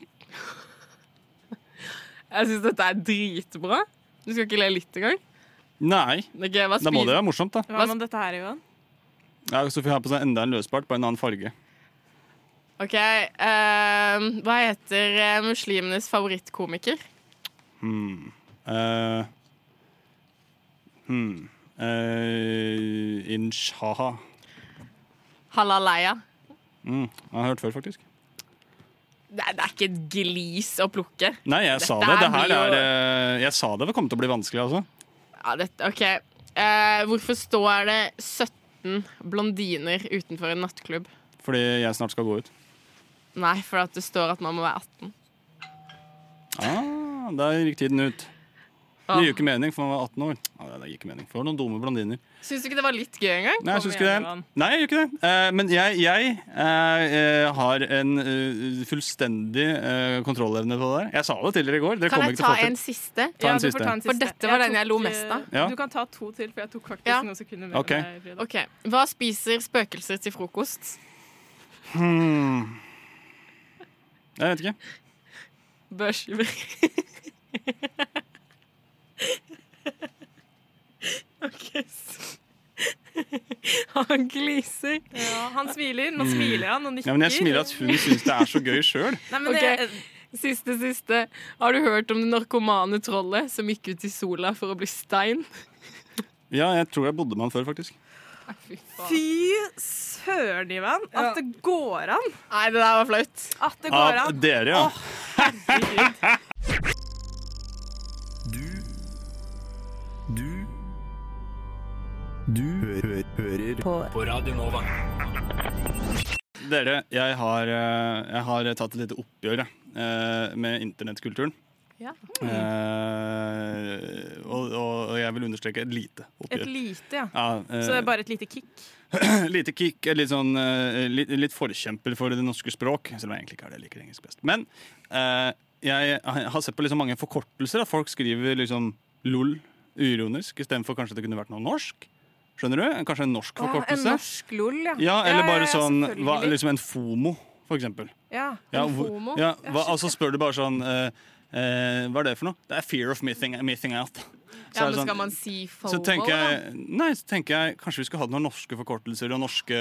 Jeg syns dette er dritbra. Du skal ikke le litt engang?
Nei.
Ok, hva
Da må
spi-
det være morsomt, da.
Hva med dette her, Johan?
Ja, Sofie har på seg enda en løsbart, bare en annen farge.
OK. ehm, hva heter eh, muslimenes favorittkomiker?
Hmm. Eh, hmm. Eh, Inshaha.
Halaleia.
Mm. Jeg har hørt før, faktisk.
Det er, det er ikke et glis å plukke.
Nei, jeg sa
Dette
det. det
her
her
blir
er,
jo-
eh, jeg sa det det kom til å bli vanskelig, altså.
Ja, dette, ok. Eh, hvorfor står det 17 blondiner utenfor en nattklubb?
Fordi jeg snart skal gå ut.
Nei, for at det står at man må være 18.
Ah, der gikk tiden ut.
Ah.
Det gir jo ikke mening, for man var 18 år. Ah, det gir ikke mening, for noen dumme blondiner.
Syns du ikke det var litt gøy engang?
Nei, jeg syns ikke det. Nei, jeg gjør ikke det. Eh, men jeg, jeg eh, eh, har en eh, fullstendig eh, kontrollevne på det der. Jeg sa det tidligere i går. Dere
Kan
kommer
jeg
ikke til
ta
å få
en
til.
siste?
Ta en Ja, du får siste. ta en
For
siste.
dette var
Jeg
den jeg lo
tok,
mest av.
eh, Ja.
Du kan ta to til, for jeg tok faktisk
Ja.
noen sekunder mer.
Ok.
enn deg, Frida.
Ok, Hva spiser spøkelser til frokost?
Hmm. Jeg vet ikke.
Børskiver. OK, så Han gliser.
Ja, han smiler. Nå smiler han og
Hmm.
nikker.
Ja, men jeg smiler at hun syns det er så gøy sjøl.
Nei, men
Ok.
det-
Siste, siste. Har du hørt om det narkomane trollet som gikk ut i sola for å bli stein?
Ja, jeg tror jeg bodde med han før, faktisk.
Fy søren, Ivan, at det går an!
Nei, det der var flaut.
At det går
Av
an.
dere, ja.
Du Du hø hø hører på, på Radio Nova.
Dere, jeg har, eh, jeg har tatt et lite oppgjør eh, med internettkulturen.
Ja.
Eh, og, og og jeg vil understreke et lite oppgjør.
Et lite, ja.
Ja, eh,
Så det er bare et lite kick.
lite kick, litt, sånn, eh, litt, litt forkjemper for det norske språk. Selv om jeg egentlig ikke er det, jeg liker engelsk best. Men eh, jeg har sett på liksom mange forkortelser. At folk skriver liksom LOL uironisk istedenfor kanskje det kunne vært noe norsk. Skjønner du? Kanskje en norsk
en
forkortelse.
norsk lol, ja.
Ja, eller bare sånn
selvfølgelig.
hva, liksom en FOMO, for eksempel.
Ja,
Ja,
en
hvor-
FOMO.
Ja,
Ja,
hva, altså spør du bare sånn eh, eh, Hva er det for noe? Det er fear of missing, missing out.
Ja,
er det
men
sånn-
skal man si fobo,
så tenker jeg, nei, så tenker jeg kanskje vi skulle hatt noen norske forkortelser og norske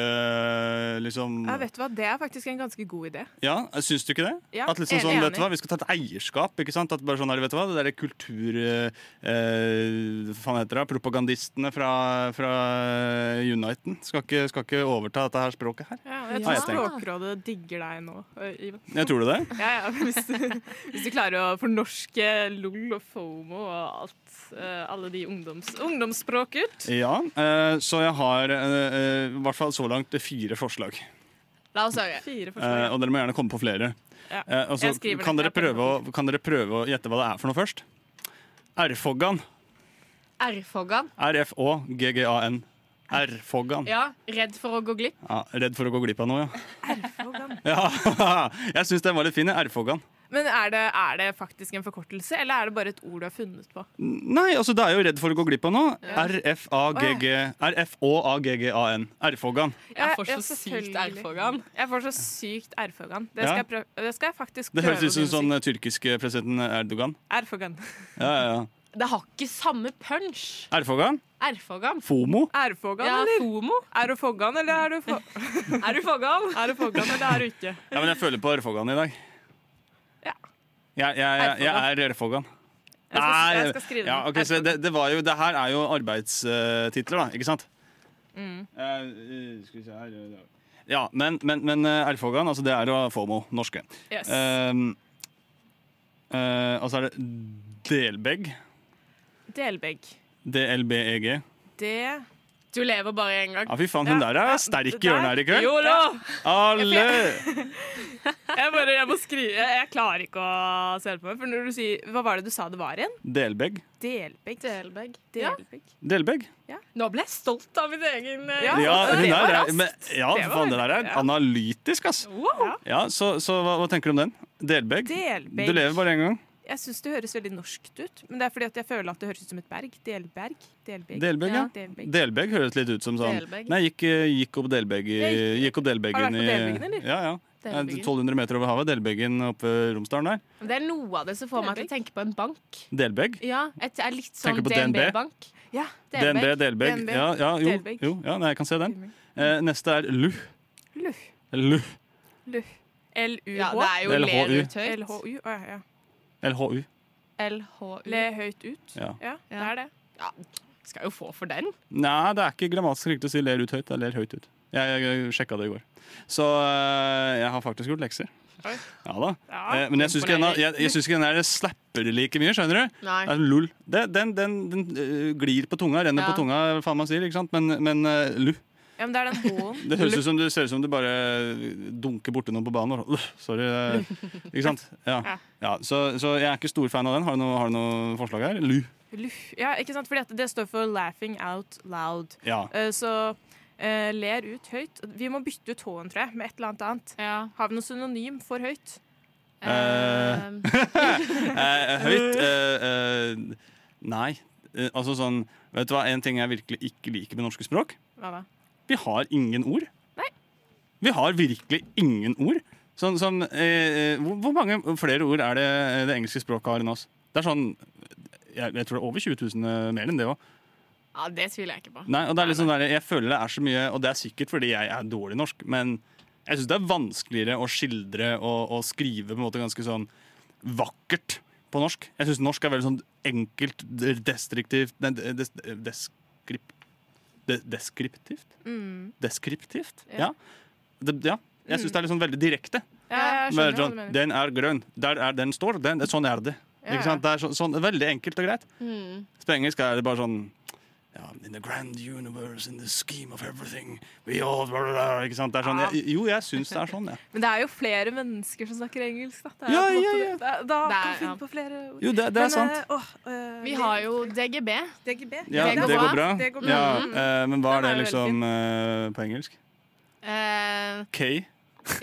liksom
Ja, vet du hva, det er faktisk en ganske god idé.
ja, syns du ikke det?
Ja,
at liksom
jeg er
sånn, vet
enig.
du hva, Vi skal ta et eierskap. ikke sant? At bare sånn, her, vet du hva, Det derre kultur... Eh, hva faen heter det? Propagandistene fra, fra Uniten skal ikke, skal ikke overta dette her språket her.
Ja, jeg
har
tror
jeg tenkt.
Språkrådet digger deg nå, ø, Ivan.
Jeg tror du det?
Ja, ja, hvis du, hvis du klarer å fornorske LOL og FOMO og alt, ø, alle de ungdoms, ungdomsspråk ut.
Ja, eh, så jeg har eh, eh, i hvert fall så langt fire forslag.
La oss høre.
Fire
Eh, og dere må gjerne komme på flere.
Ja.
Eh, og så
Jeg skriver
kan,
det.
dere prøve å, kan dere prøve å gjette hva det er for noe først? Rfoggan.
R-foggan.
R-F-Å-G-G-A-N. R-Foggan.
Ja, Redd for å gå glipp.
Ja, redd for å gå glipp av noe, ja. ja. Jeg syns den var litt fin. R-Foggan.
Men er det, er det faktisk en forkortelse, eller er det bare et ord du har funnet på?
Nei, altså det er jo redd for å gå glipp av noe. RFAGG RFÅAGGAN. R-Foggan.
Ja,
Jeg får så
ja,
sykt
selvfølgelig.
R-fogan.
Jeg får så sykt R-fogan. Det,
Ja.
skal jeg prøve- det skal jeg faktisk
Det
prøve.
høres ut som sånn eh, tyrkiske presidenten Erdogan.
R-fogan.
Ja, ja, ja.
Det har ikke samme punch.
R-Foggan?
Erfogan.
Fomo?
R-fogan,
Ja,
eller?
fomo.
Er du fogan, eller er du, fo
Er du fogan?
er du fogan, eller er du ikke?
Ja, men jeg føler på R-Foggan i dag. Jeg, jeg, jeg, jeg er R-Foggan.
Jeg skal- jeg skal skrive
ja,
den.
ok, så det, det, var jo, det her er jo arbeidstitler, da, ikke sant?
Mm.
Eh,
Eh, skal vi se her Ja, men, men, men eh, R-Foggan, altså det er jo FOMO, norske.
Yes.
Ehm, eh, altså er det delbeg,
Delbegg.
DLBEG.
Det
Du lever bare én
E
gang.
Ja, fy faen, hun der er sterk i hjørnet her i kveld.
Jo da!
Alle!
Jeg, bare, jeg må skrive jeg, jeg klarer ikke å se det på meg. For når du sier Hva var det du sa det var igjen?
Delbeg.
Delbegg. Delbegg. Delbegg.
Delbeg.
Nå ble jeg stolt av min egen eh,
Ja,
altså,
hun der er, men, ja
Det var
faen, det der er
raskt, ja.
analytisk, ass.
Wow.
Ja, så, så hva, hva tenker du om den? Delbeg.
Delbeg.
Du lever bare én gang.
Jeg syns det høres veldig norskt ut, men det er fordi at jeg føler at det høres ut som et berg. Delberg. Delbegg.
Delbegg, ja.
Delbegg.
Delbegg høres litt ut som sånn
Delbegg.
Nei, gikk, gikk opp Delbegg i Gikk opp
Har
Delbeggen
du
i
vært på Delbeggen, eller?
Ja, ja. Ja,
Delbeggen.
1200 meter over havet. Delbeggen oppe ved Romsdalen der.
Det er noe av det som får meg til å tenke på en bank.
Delbegg.
Ja, et, er litt sånn
Tenker på DNB?
DNB-bank. Ja,
DNB, Delbegg. Ja, ja, jo,
Delbegg.
jo, ja, nei, jeg kan se den. Eh, neste er Luh.
Luh.
Luh.
Luh. LUH.
Ja, det er jo
LHU.
ler ut høyt.
LHU. Å, ja, ja.
LHU.
LHU.
Le høyt ut.
Ja.
det er det.
Ja, skal jo få for den.
Nei, det er ikke grammatisk riktig å si ler ut høyt. Det er ler høyt ut. Jeg, jeg, jeg sjekka det i går. Så eh, jeg har faktisk gjort lekser.
Oi.
Ja da. Eh, men jeg syns ikke den er- jeg- jeg syns ikke den der slapper like mye, skjønner du?
Nei.
Det er lull. Det, den den, den eh, glir på tunga, renner
Ja.
på tunga, hva faen man sier, ikke sant? Men, men eh, lu.
Ja, men det er den H-en.
Det høres ut som du ser ut som du bare dunker borti noen på banen. og- Sorry. eh, Ikke sant? Ja. ja så, så jeg er ikke stor fan av den. Har du noe, har du noe forslag her? Lu.
Luh. Ja, ikke sant? Fordi at det står for 'laughing out loud'.
Ja.
Eh, Så eh, ler ut høyt. Vi må bytte ut H-en, tror jeg, med et eller annet annet. Har vi noe synonym for høyt?
Eh, eh, høyt eh, eh, Nei. Eh, altså sånn Vet du hva, en ting jeg virkelig ikke liker med norske språk?
Hva da?
Vi har ingen ord. Vi har virkelig ingen ord. Sånn som eh, eh, Hvor hvor mange flere ord er det eh, det engelske språket har enn oss? Det er sånn Jeg, jeg tror det er over 20 000 mer enn det òg.
Ja, Det tviler jeg ikke på.
Nei, og det er liksom der, jeg føler det er så mye, og det er sikkert fordi jeg er dårlig i norsk, men jeg syns det er vanskeligere å skildre og, og skrive på en måte ganske sånn vakkert på norsk. Jeg syns norsk er veldig sånn enkelt, destriktivt nei, des, deskrip, de, Deskriptivt?
Mm.
Deskriptivt? Ja.
Ja. Mm.
Det, ja. Jeg syns det er liksom veldig direkte.
Ja, jeg skjønner
Veldig
hva
sånn,
du mener.
den er grønn. Der er den står. Den, sånn er det.
Ja,
Ikke sant? Det er så, sånn, veldig enkelt og greit.
Hmm.
Mm.
På engelsk er det bare sånn ja, In the grand universe, in the scheme of everything we all blah, blah, blah, Ikke sant? Det er sånn, jeg, jo, jeg syns det er sånn, jeg.
Men det er jo flere mennesker som snakker engelsk, da. Det er
Ja,
på en måte
ja, ja.
det. Da, da
Det er-
kan vi finne
ja.
på flere ord.
Jo, det- det er
Men,
sant.
eh, åh, eh,
Vi har jo DGB.
DGB.
Ja, det, går bra.
Det går bra.
Ja,
Mm.
eh, men hva er det
Den er jo veldig
liksom eh, på engelsk?
Eh,
K?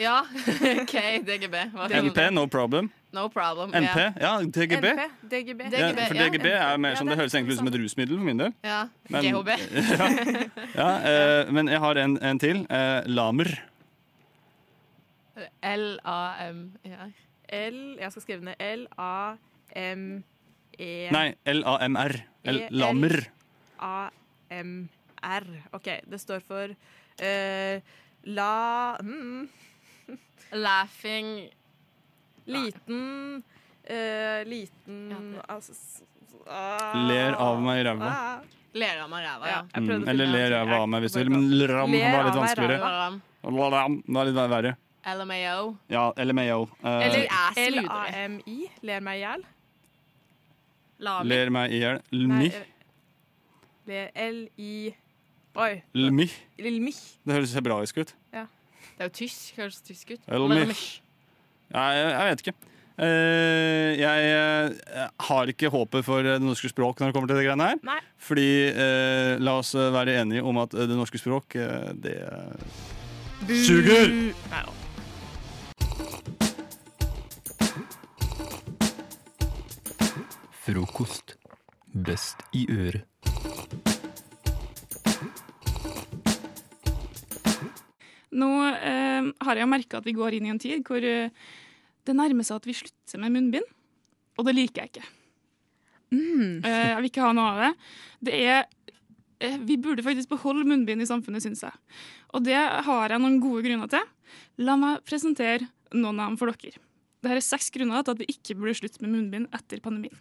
ja, OK, DGB. Hva kan
NP?
det?
No problem.
No problem.
NP?
ja.
Ja, DGB.
DGB.
Ja, for DGB er mer sånn, Det høres egentlig ut som et rusmiddel for min del.
Ja.
Men-
GHB.
Ja, eh, men jeg har en, en til. Eh, lamer.
E
L-A-M-E-R. L, jeg skal skrive ned L-A-M-E
Nei, L-A-M-R. L-
E-
Lamer.
A-M-R. OK, det står for eh, la mm.
Laughing
Liten eh, Liten altså, s- ah.
Ler av meg i ræva.
Ah.
Ler av meg ræva, ja.
Mm, eller ler ræva av meg hvis du vil, men ram
Ler
var litt
av meg
vanskeligere.
ræva.
Lam var litt verre.
LMAO.
Ja, LMAO. Eh,
Eller ass videre.
L-A-M-I. Ler meg i hjel.
ler meg i hjel.
Nei,
Lmi.
eh, le- L-I Oi.
Lmi.
Lilmi.
Det høres hebraisk ut.
Ja.
Det er jo tysk. Høres tysk ut.
Lmi. Nei, jeg jeg vet ikke. Eh, jeg eh, eh, har ikke håpet for eh, det norske språk når det kommer til det greiene her.
Nei.
Fordi eh, la oss være enige om at det norske språk, eh, det eh, suger!
Nei, da.
Frokost. Best i øret.
Nå eh, har jeg merka at vi går inn i en tid hvor eh, det nærmer seg at vi slutter med munnbind. Og det liker jeg ikke. Eh, jeg vil ikke ha noe av det. Det er eh, Vi burde faktisk beholde munnbind i samfunnet, syns jeg. Og det har jeg noen gode grunner til. La meg presentere noen av dem for dere. Dette er seks grunner til at vi ikke burde slutte med munnbind etter pandemien.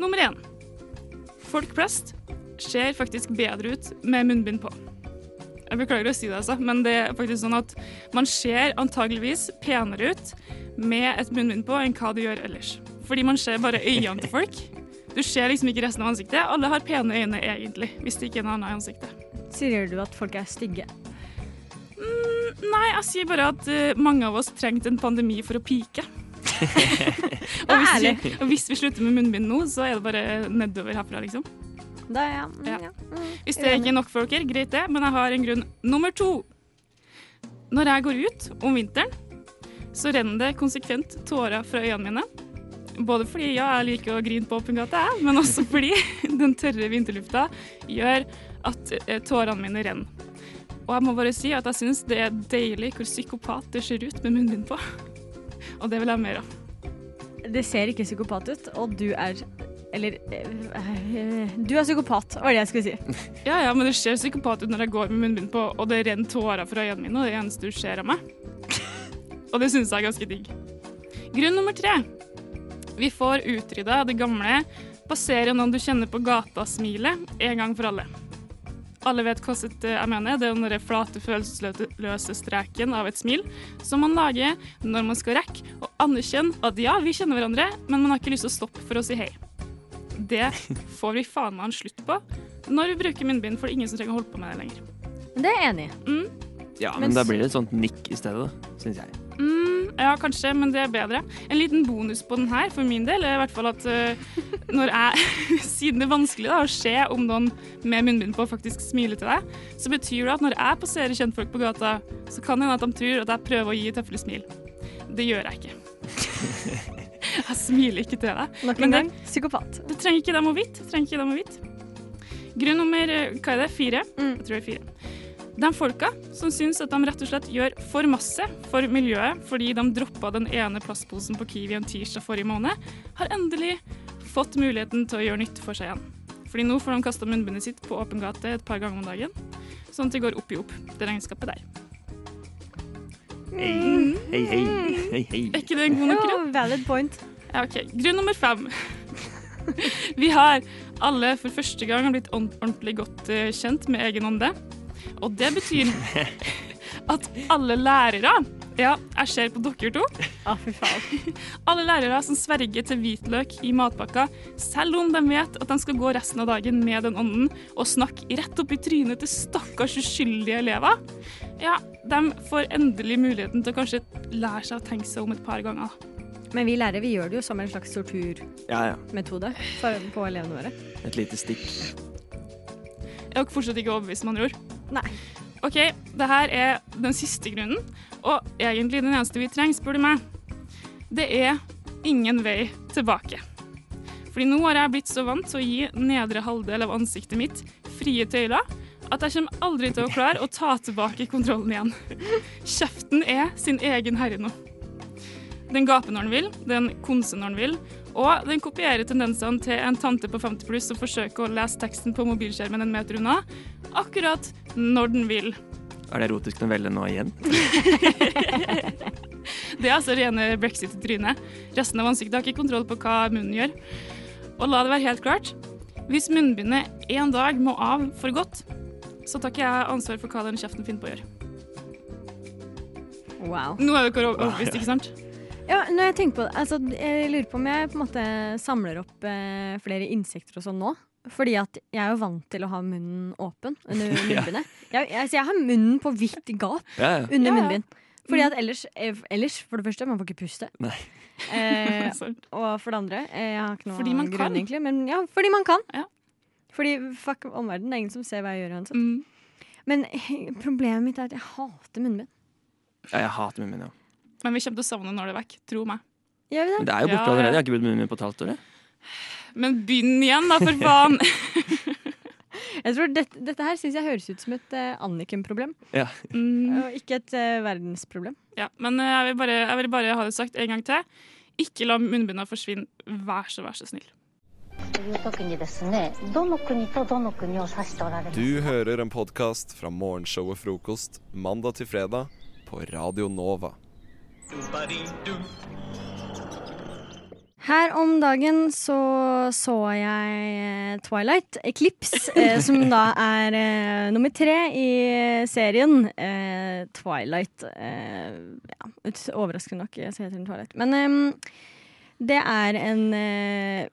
Nummer én. Folk flest ser faktisk bedre ut med munnbind på. Jeg beklager å si det, altså, men det er faktisk sånn at man ser antageligvis penere ut med et munnbind på enn hva du gjør ellers. Fordi man ser bare øynene til folk. Du ser liksom ikke resten av ansiktet. Alle har pene øyne, egentlig, hvis det ikke er noe annet i ansiktet.
Sier du at folk er stygge?
Mm, Nei, jeg sier bare at eh, mange av oss trengte en pandemi for å pike. og, hvis vi,
ærlig.
og hvis vi slutter med munnbind nå, så er det bare nedover herfra, liksom.
Da, ja. Mm,
Ja.
ja. Mm,
Hvis det ikke
enig.
er nok for dere, greit det, men jeg har en grunn nummer to. Når jeg går ut om vinteren, så renner det konsekvent tårer fra øynene mine. Både fordi ja, jeg liker å grine på åpen gate, jeg, men også fordi den tørre vinterlufta gjør at eh, tårene mine renner. Og jeg må bare si at jeg syns det er deilig hvor psykopat det ser ut med munnbind på. Og det vil jeg ha mer av.
Det ser ikke psykopat ut, og du er Eller eh, eh, Du er psykopat, var det jeg skulle si.
Ja, ja, men det ser psykopat ut når jeg går med munnbind på, og det renner tårer fra øynene mine, og det er det eneste du ser av meg. Og det syns jeg er ganske digg. Grunn nummer tre. Vi får utrydda det gamle basere noen du kjenner på gata-smilet en gang for alle. Alle vet hva sitt eh, jeg mener. Det er den derre flate, følelsesløse streken av et smil som man lager når man skal rekke å anerkjenne at ja, vi kjenner hverandre, men man har ikke lyst til å stoppe for å si hei. Det får vi faen meg en slutt på når vi bruker munnbind, for det er ingen som trenger å holde på med det lenger.
Det er jeg enig i.
Mm.
Ja,
Men
men da
s-
blir det et sånt nikk i stedet, syns jeg.
Mm, ja, kanskje, men det er bedre. En liten bonus på den her, for min del, er i hvert fall at eh, når jeg, siden det er vanskelig da, å se om noen med munnbind på faktisk smiler til deg, så betyr det at når jeg passerer kjentfolk på gata, så kan det hende at de tror at jeg prøver å gi tøfle smil. Det gjør jeg ikke. Jeg smiler ikke til deg.
Nok en
Men det-
gang, psykopat.
Det trenger ikke dem å vite. Trenger ikke dem å vite. Grunn nummer eh, hva er det, fire?
Mm.
Jeg tror det er fire. De folka som syns at de rett og slett gjør for masse for miljøet fordi de droppa den ene plastposen på Kiwi en tirsdag forrige måned, har endelig fått muligheten til å gjøre nytte for seg igjen. Fordi nå får de kasta munnbindet sitt på åpen gate et par ganger om dagen, sånn at det går opp i opp, det regnskapet der.
Hei,
Mm.
hei, hei. hei, hei.
Er ikke det en god nok grunn? valid point. Ja, ok. Grunn nummer fem. Vi har alle for første gang blitt ord- ordentlig godt eh, kjent med egen ånde. Og det betyr at alle lærere Ja, jeg ser på dere to. Ja, fy faen. Alle lærere som sverger til hvitløk i matpakka, selv om de vet at de skal gå resten av dagen med den ånden og snakke rett opp i trynet til stakkars uskyldige elever, ja, de får endelig muligheten til å kanskje lære seg å tenke seg om et par ganger. da.
Men vi lærere vi gjør det jo som en slags torturmetode
Ja, ja.
for- på elevene våre.
Et lite stikk.
Jeg er dere fortsatt ikke overbevist, med andre ord. Nei. OK, det her er den siste grunnen, og egentlig den eneste vi trenger, spør du meg. Det er ingen vei tilbake. Fordi nå har jeg blitt så vant til å gi nedre halvdel av ansiktet mitt frie tøyler at jeg kommer aldri til å klare å ta tilbake kontrollen igjen. Kjeften er sin egen herre nå. Den gaper når den vil, den konser når den vil, og den kopierer tendensene til en tante på 50 pluss som forsøker å lese teksten på mobilskjermen en meter unna, akkurat når den vil.
Er det erotisk novelle nå igjen?
Det er altså rene brexit-trynet. Resten av ansiktet har ikke kontroll på hva munnen gjør. Og la det være helt klart, hvis munnbindet en dag må av for godt, så tar ikke jeg ansvar for hva den kjeften finner på å gjøre.
Wow.
Nå er dere overbevist, ikke sant?
Ja, når jeg tenker på det, altså, jeg lurer på om jeg på en måte samler opp eh, flere insekter og sånn nå. Fordi at jeg er jo vant til å ha munnen åpen under
Ja.
munnbindet. Jeg, jeg, så jeg har munnen på vidt gap
Ja, ja.
under
Ja, ja.
Mm.
munnbind. Fordi at ellers, eh, ellers, for det første, man får ikke puste.
Nei.
Eh, og for det andre eh, Jeg har ikke noe
Fordi man
grunn,
kan.
egentlig. Men ja, fordi man kan. Fordi fuck omverdenen. Det er ingen som ser hva jeg gjør uansett.
Mm.
Men eh, problemet mitt er at jeg hater munnbind.
Ja, jeg hater munnen min, ja.
Men vi kommer til å savne når det er vekk. Tro meg.
Gjør vi
Men det er jo borte allerede. Jeg har ikke brukt munnen min på et halvt år. jeg.
Men begynn igjen, da, for faen!
Jeg tror dette, dette her syns jeg høres ut som et eh, Anniken-problem.
Ja.
Og ikke et eh, verdensproblem.
Mm. Ja, men eh, jeg vil, bare, jeg vil bare ha det sagt en gang til. Ikke la munnbindene forsvinne. Vær så, vær så snill.
という時にですねどの国とどの国を指しておられますか
Du hører en podkast fra morgenshow og frokost mandag til fredag på Radio Nova.
Her om dagen så så jeg eh, Twilight Eclipse, eh, som da er eh, nummer tre i serien eh, Twilight. Eh, ja, ut- overraskende nok eh, så heter den Twilight. Men eh, det er en eh,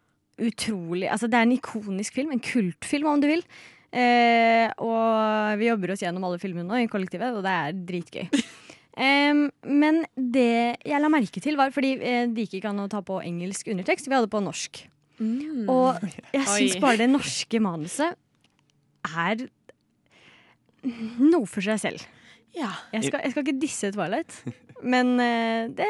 utrolig Altså det er en ikonisk film, en kultfilm om du vil. Eh, og vi jobber oss gjennom alle filmene nå i kollektivet, og det er dritgøy. Em, men det jeg la merke til, var fordi eh, det gikk ikke an å ta på engelsk undertekst. Vi hadde på norsk. Og jeg syns
Oi.
bare det norske manuset er noe for seg selv. Jeg, skal, jeg skal ikke disse Twilight, men eh, det,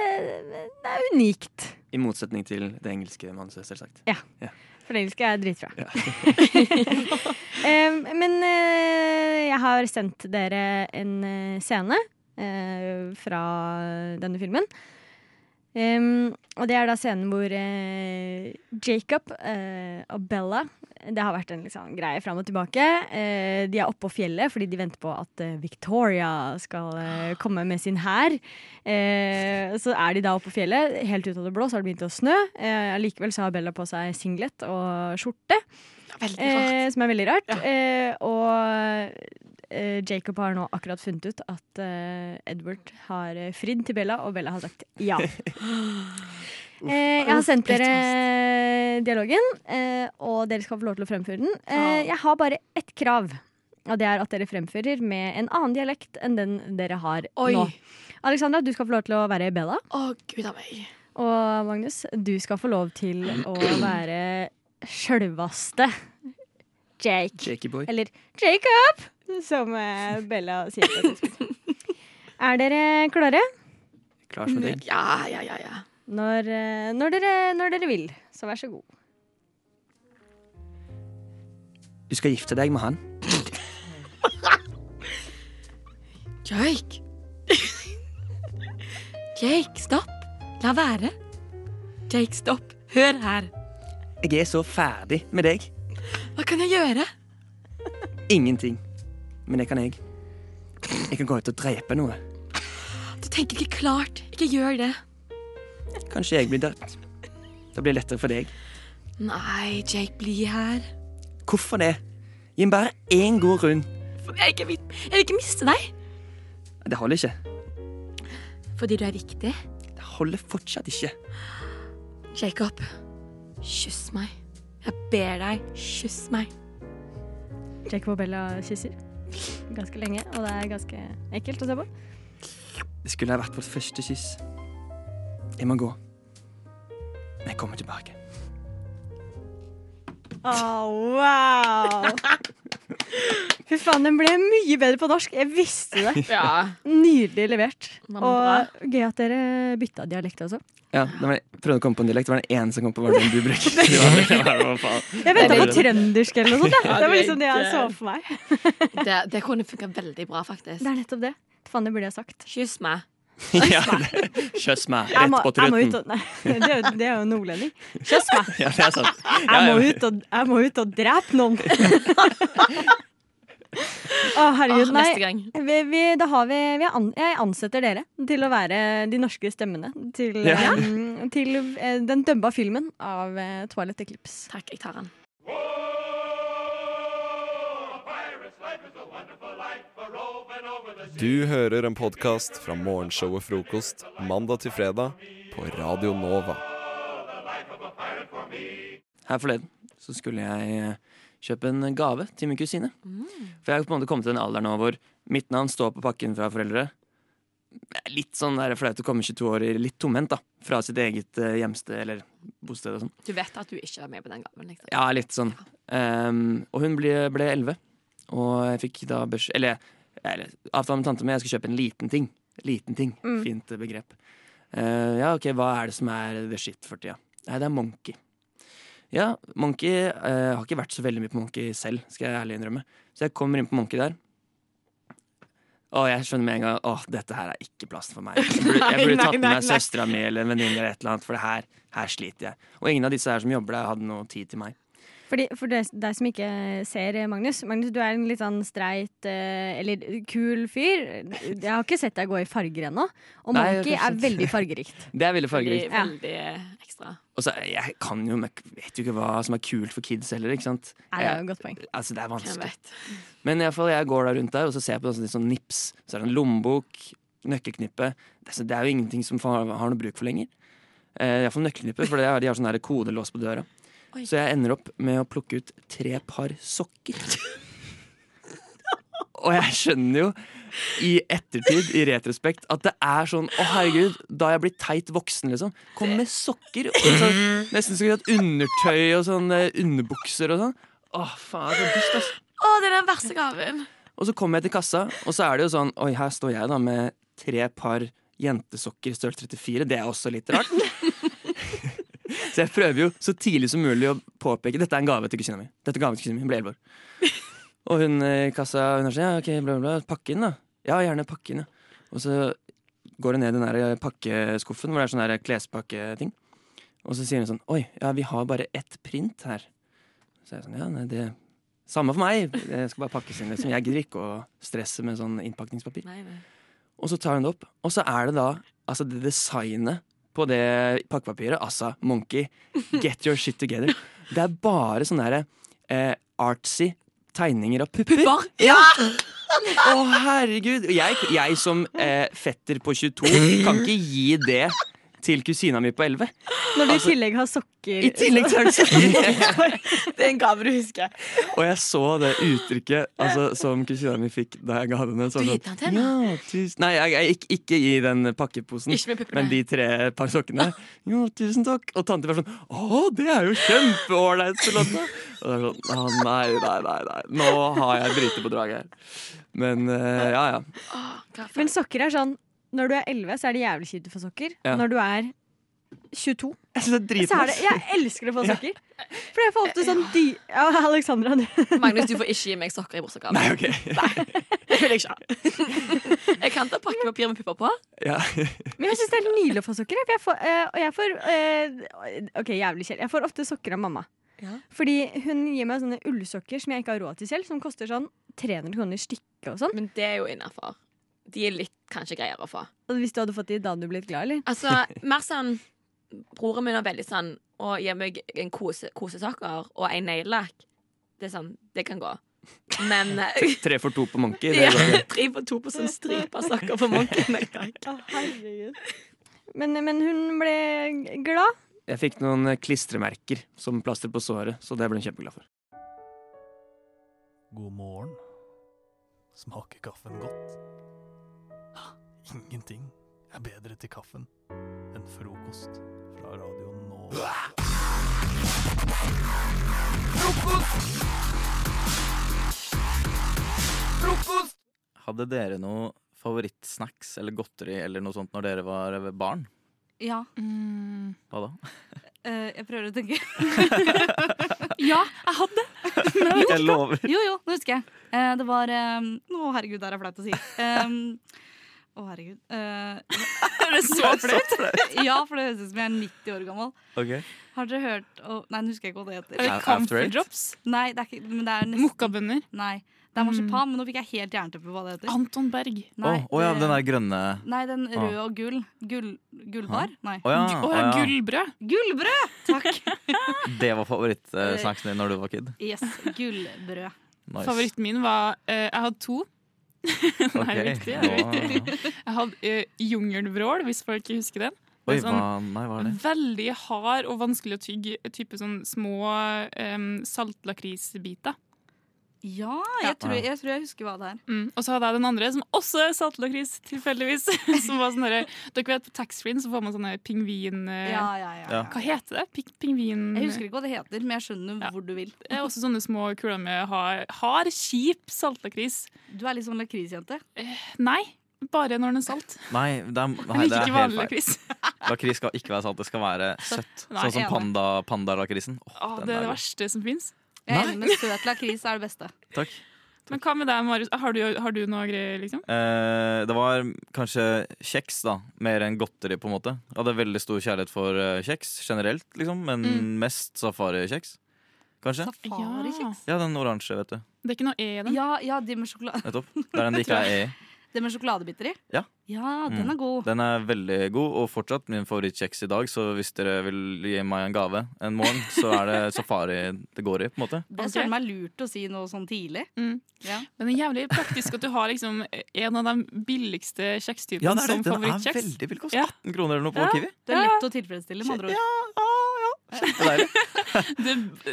det er unikt.
I motsetning til det engelske manuset, selvsagt.
Ja.
Ja.
For det engelske er dritbra. Em, men eh, jeg har sendt dere en eh, scene eh, fra denne filmen. Em, og det er da scenen hvor eh, Jacob eh, og Bella Det har vært en liksom, greie fram og tilbake. Eh, de er oppe på fjellet fordi de venter på at eh, Victoria skal eh, komme med sin hær. Eh, så er de da oppe på fjellet. Helt ut av det blå så har det begynt å snø. Eh, Allikevel så har Bella på seg singlet og skjorte.
Veldig
Eh,
rart.
som er veldig rart. Eh, og eh, Jacob har nå akkurat funnet ut at eh, Edward har eh, fridd til Bella, og Bella har sagt ja. Eh, jeg har sendt dere dialogen, eh, og dere skal få lov til å fremføre den.
Ah.
Eh, jeg har bare ett krav, og det er at dere fremfører med en annen dialekt enn den dere har
Oi.
nå. Alexandra, du skal få lov til å være Bella. Og Magnus, du skal få lov til å være sjølvaste Jake.
Jakey boy.
Eller Jacob, som eh, Bella sier på tidspunkt. Er dere klare?
Klar som et egg.
Ja, ja, ja. ja. Når, eh, når, dere, når dere vil, så vær så god.
Du skal gifte deg med han.
Jake! Jake, stopp! La være. Jake, stopp. Hør her.
Jeg er så ferdig med deg.
Hva kan jeg gjøre?
Ingenting. Men det kan jeg. Jeg kan gå ut og drepe noe.
Du tenker ikke klart. Ikke gjør det.
Kanskje jeg blir dødt. Da blir det lettere for deg.
Nei, Jake, bli her.
Hvorfor det? Gi meg bare én god rund.
For jeg, ikke vil, jeg vil ikke miste deg.
Det holder ikke.
Fordi du er viktig.
Det holder fortsatt ikke.
Jacob, kyss meg. Jeg ber deg, kyss meg.
Jacob og Bella kysser ganske lenge, og det er ganske ekkelt å se på.
Det skulle ha vært vårt første kyss. Jeg må gå. Men jeg kommer tilbake.
Å, wow! Fy faen, den ble mye bedre på norsk. Jeg visste det.
Ja.
Nydelig levert.
Var den
Og gøy at dere bytta dialekt også.
Ja, da var jeg prøvde å komme på en dialekt. Det var den ene som kom på hva den du brukte. Det var- det var- hva faen.
Jeg venta på trøndersk eller noe sånt. jeg.
Ja,
Det var
det er
liksom det jeg
ikke-
så for meg.
Det, det kunne funka veldig bra, faktisk.
Det er nettopp det. Faen, det burde jeg sagt.
Kyss meg.
Ja, det- Kyss meg
Jeg
rett
må,
på
jeg må ut
truten.
og Nei, det er jo, det er jo nordlending. Kyss meg!
Ja, det er sant.
Jeg må
Ja, ja.
ut og, jeg må ut og drepe noen! Å, herregud,
Åh,
nei.
neste gang.
Vi, vi, da har vi, vi an, jeg ansetter dere til å være de norske stemmene til,
Ja.
eh, til eh, den dubba filmen av eh, Twilight Eclipse.
Takk, jeg tar den.
Du hører en podkast fra morgenshow og frokost mandag til fredag på Radio Nova.
Her forleden så skulle jeg eh, kjøpe en gave til min
Mm.
kusine. For jeg har på en måte kommet til den alderen nå hvor mitt navn står på pakken fra foreldre, litt sånn der flaut å komme 22 år litt tomhendt, da. Fra sitt eget eh, hjemsted eller bosted og sånn.
Du vet at du ikke er med på den gaven, liksom.
Ja, litt sånn. Ehm, og hun ble, ble 11, og jeg fikk da børs... Eller, eller avtale med tante mi, jeg skal kjøpe en liten ting. Liten ting.
Mm.
Fint begrep. Eh, ja, OK, hva er det som er the shit for tida? Nei, det er Monkey. Ja, Monkey eh, har ikke vært så veldig mye på Monkey selv, skal jeg ærlig innrømme. Så jeg kommer inn på Monkey der. Og jeg skjønner med en gang Åh, dette her er ikke plassen for meg. Jeg burde, jeg burde
Nei,
tatt med
nei,
meg
nei.
søstera mi eller en venninne, eller et eller annet, for det her, her sliter jeg. Og ingen av disse her som jobber der, hadde noe tid til meg.
Fordi, for deg, deg som ikke ser Magnus Magnus, du er en litt sånn streit eh, eller kul fyr. Jeg har ikke sett deg gå i farger ennå. Og
Nei,
Monkey
rett og
er
slett.
veldig fargerikt.
Det er veldig fargerikt.
Veldig ekstra.
Og så, jeg kan jo, jeg vet jo ikke hva som er kult for kids heller, ikke sant?
Nei, det er jo et godt poeng.
Jeg- altså, det er
Hvem
vanskelig.
vet.
Men i alle fall, jeg går der rundt der, og så ser jeg på sånn, litt sånn nips. Så er det en lommebok, nøkkelknippe. Det, er så- det er jo ingenting som fa- har noe bruk for lenger. Eh, Iallfall nøkkelknippe, for det er, de har sånn der kodelås på døra.
Oi.
Så jeg ender opp med å plukke ut tre par sokker. Og jeg skjønner jo i ettertid, i retrospekt, at det er sånn Å, herregud, da er jeg blitt teit voksen, liksom. Kom med sokker. Og så, nesten skulle hatt undertøy og sånn eh, underbukser og sånn. Å, faen, så dust, ass.
Å, det er den verste gaven!
Og så kommer jeg til kassa, og så er det jo sånn Oi, her står jeg da med tre par jentesokker i størrelse 34. Det er også litt rart. så jeg prøver jo så tidlig som mulig å påpeke Dette er en gave til kusina mi. Dette er en gave til kusina mi. Hun ble 11 år. Og hun i kassa hun er sånn Ja, ok, bla, bla, bla. Pakke inn, da. Ja, gjerne pakke inn, ja. Og så går hun ned i den der eh, pakkeskuffen hvor det er sånn der klespakketing. Og så sier hun sånn Oi, ja, vi har bare ett print her. Så er jeg sånn, ja, nei, det Samme for meg! Det skal bare pakkes inn. Liksom. Jeg gidder ikke å stresse med sånn innpakningspapir. Og så tar hun det opp, og så er det da altså det designet på det pakkepapiret, altså Monkey, get your shit together. Det er bare sånne der, eh, artsy tegninger av pupper.
Pupper?
Ja! Å, herregud. Og Jeg, jeg som eh, fetter på 22 kan ikke gi det til kusina mi på 11.
Når du i
Altså-
tillegg har sokker
I tillegg så har du
sokker!
Det er en gave du husker.
Og jeg så det uttrykket altså, som kusina mi fikk da jeg ga henne. Så
Du
var
gitt
det
den
sånn,
til henne?
tusen- Nei, jeg, jeg, ikke, ikke i den pakkeposen,
Ikke med puppene.
men de tre par sokkene. Jo, tusen takk. Og tante var sånn Å, det er jo kjempeålreit, Charlotte! Og det var sånn Å nei, nei, nei, nei. Nå har jeg driti på draget her. Men eh, ja, ja.
Men sokker er sånn Når du er 11, så er det jævlig kjipt å få sokker.
Ja.
Når du er 22
det er
så er det,
dritnice.
Jeg elsker å få sokker. For jeg får ofte sånn dy... Ja, Alexandra, du
Magnus, du får ikke gi meg sokker i bursdagsgave. Nei, det vil jeg ikke ha. Jeg kan ta pakkepapir med pupper på.
ja.
Men jeg syns det er helt nydelig å få sokker. jeg, For jeg får, eh, og jeg får eh, OK, jævlig kjedelig. Jeg får ofte sokker av mamma. Fordi hun gir meg sånne ullsokker som jeg ikke har råd til selv, som koster sånn 300 kroner stykket og sånn.
Men det er jo innafor. De er litt kanskje greiere å få.
Og hvis du hadde fått de, da hadde du blitt glad, eller?
Altså, mer sånn Broren min er veldig sånn å gi meg en kose, kosesokker og en neglelakk. Det er sånn, det kan gå. Men eh,
Tre for to på Monkey. Det
ja,
går ikke.
tre på to på sånn stripa sokker på Monken.
Men, men hun ble glad.
Jeg fikk noen klistremerker som plaster på såret, så det ble hun kjempeglad for.
God morgen. Smaker kaffen godt? Ah, Ingenting er bedre til kaffen enn frokost fra radioen nå.
Hadde dere noe favorittsnacks eller godteri eller noe sånt når dere var barn?
Ja. Mm.
Hva da?
Eh, jeg prøver å tenke. ja, jeg hadde! Jo,
Jeg lover.
Jo, jo, nå husker jeg. Eh, det var eh, Å, herregud, det her er flaut å si. Um, Å, herregud. Eh, er det så
Det er så
flaut? ja, for det høres ut som jeg er 90 år gammel.
Ok.
Har dere hørt å- Nei, nå husker jeg ikke hva det
Er
heter.
det After Comfy Eight?
drops? Nei, det er ikke men det er nesten, Mokkabønner? Nei. Det er marsipan, men nå fikk jeg helt jernteppe på hva det heter. Anton Berg.
Å
Nei,
å ja,
det-
den der grønne
Nei, den
Å.
røde og gull. gull
Ah.
gullbar?
Hæ?
Nei.
Å ja, Gu- å ja, å ja.
Gullbrød! Gullbrød! Takk.
Det var favorittsnacksen din når du var kid?
Yes, gullbrød.
Nice.
Favoritten min var eh, Jeg hadde to. Nei, det er riktig. det er
Ok,
riktig. Jeg hadde eh, jungelvrål, hvis folk ikke husker den.
Oi,
Det er sånn
hva, nei, hva er det?
Veldig hard og vanskelig å tygge. Type sånn små um, eh, saltlakrisbiter.
Ja, jeg tror jeg, tror jeg husker hva det er.
Mm. Og så hadde jeg den andre, som også er Saltlakris, tilfeldigvis. Som var sånn derre- Dere vet, på taxfree-en så får man sånne pingvin... eh,
Ja, ja, ja, ja.
Hva heter det? Ping pingvin...
Jeg husker ikke hva det heter, men jeg skjønner hvor du vil.
Det er også sånne små kuler med hard, hard kjip saltlakris.
Du er litt sånn lakrisjente?
Nei, bare når den er salt.
Nei, det er, nei,
Jeg
det
liker
er
ikke
helt
vanlig
feil.
lakris.
Lakris skal ikke være salt, det skal være søtt.
Nei,
sånn som
enig.
panda, pandalakrisen. Åh,
Å,
den
det
er
er det
god.
verste som fins.
Jeg er enig med søt lakris er det beste.
Takk.
Men hva med deg, Marius? Har du, har du noe greier, liksom?
Eh, det var kanskje kjeks, da. Mer enn godteri, på en måte. Jeg hadde veldig stor kjærlighet for eh, kjeks generelt, liksom, men
Mm.
mest safarikjeks. Kanskje?
Ja.
Ja, den oransje, vet du.
Det er ikke noe E i den?
Ja, ja de med sjokolade.
Nettopp. Der den det ikke er E i.
Det med sjokoladebiter i?
Ja.
Ja, den
Mm.
er god.
Den er veldig god, og fortsatt min favorittkjeks i dag. Så hvis dere vil gi meg en gave en morgen, så er det safari det går i. på en måte
Det er søren meg lurt å si noe sånn tidlig. Ja.
Mm. Men det er jævlig praktisk at du har liksom en av de billigste kjekstypene
Ja, det er
som
det. Den er
favorittkjeks.
veldig billig. Koster
Ja.
18 kroner eller noe på Kiwi.
Det er lett å tilfredsstille, med andre ord.
Det,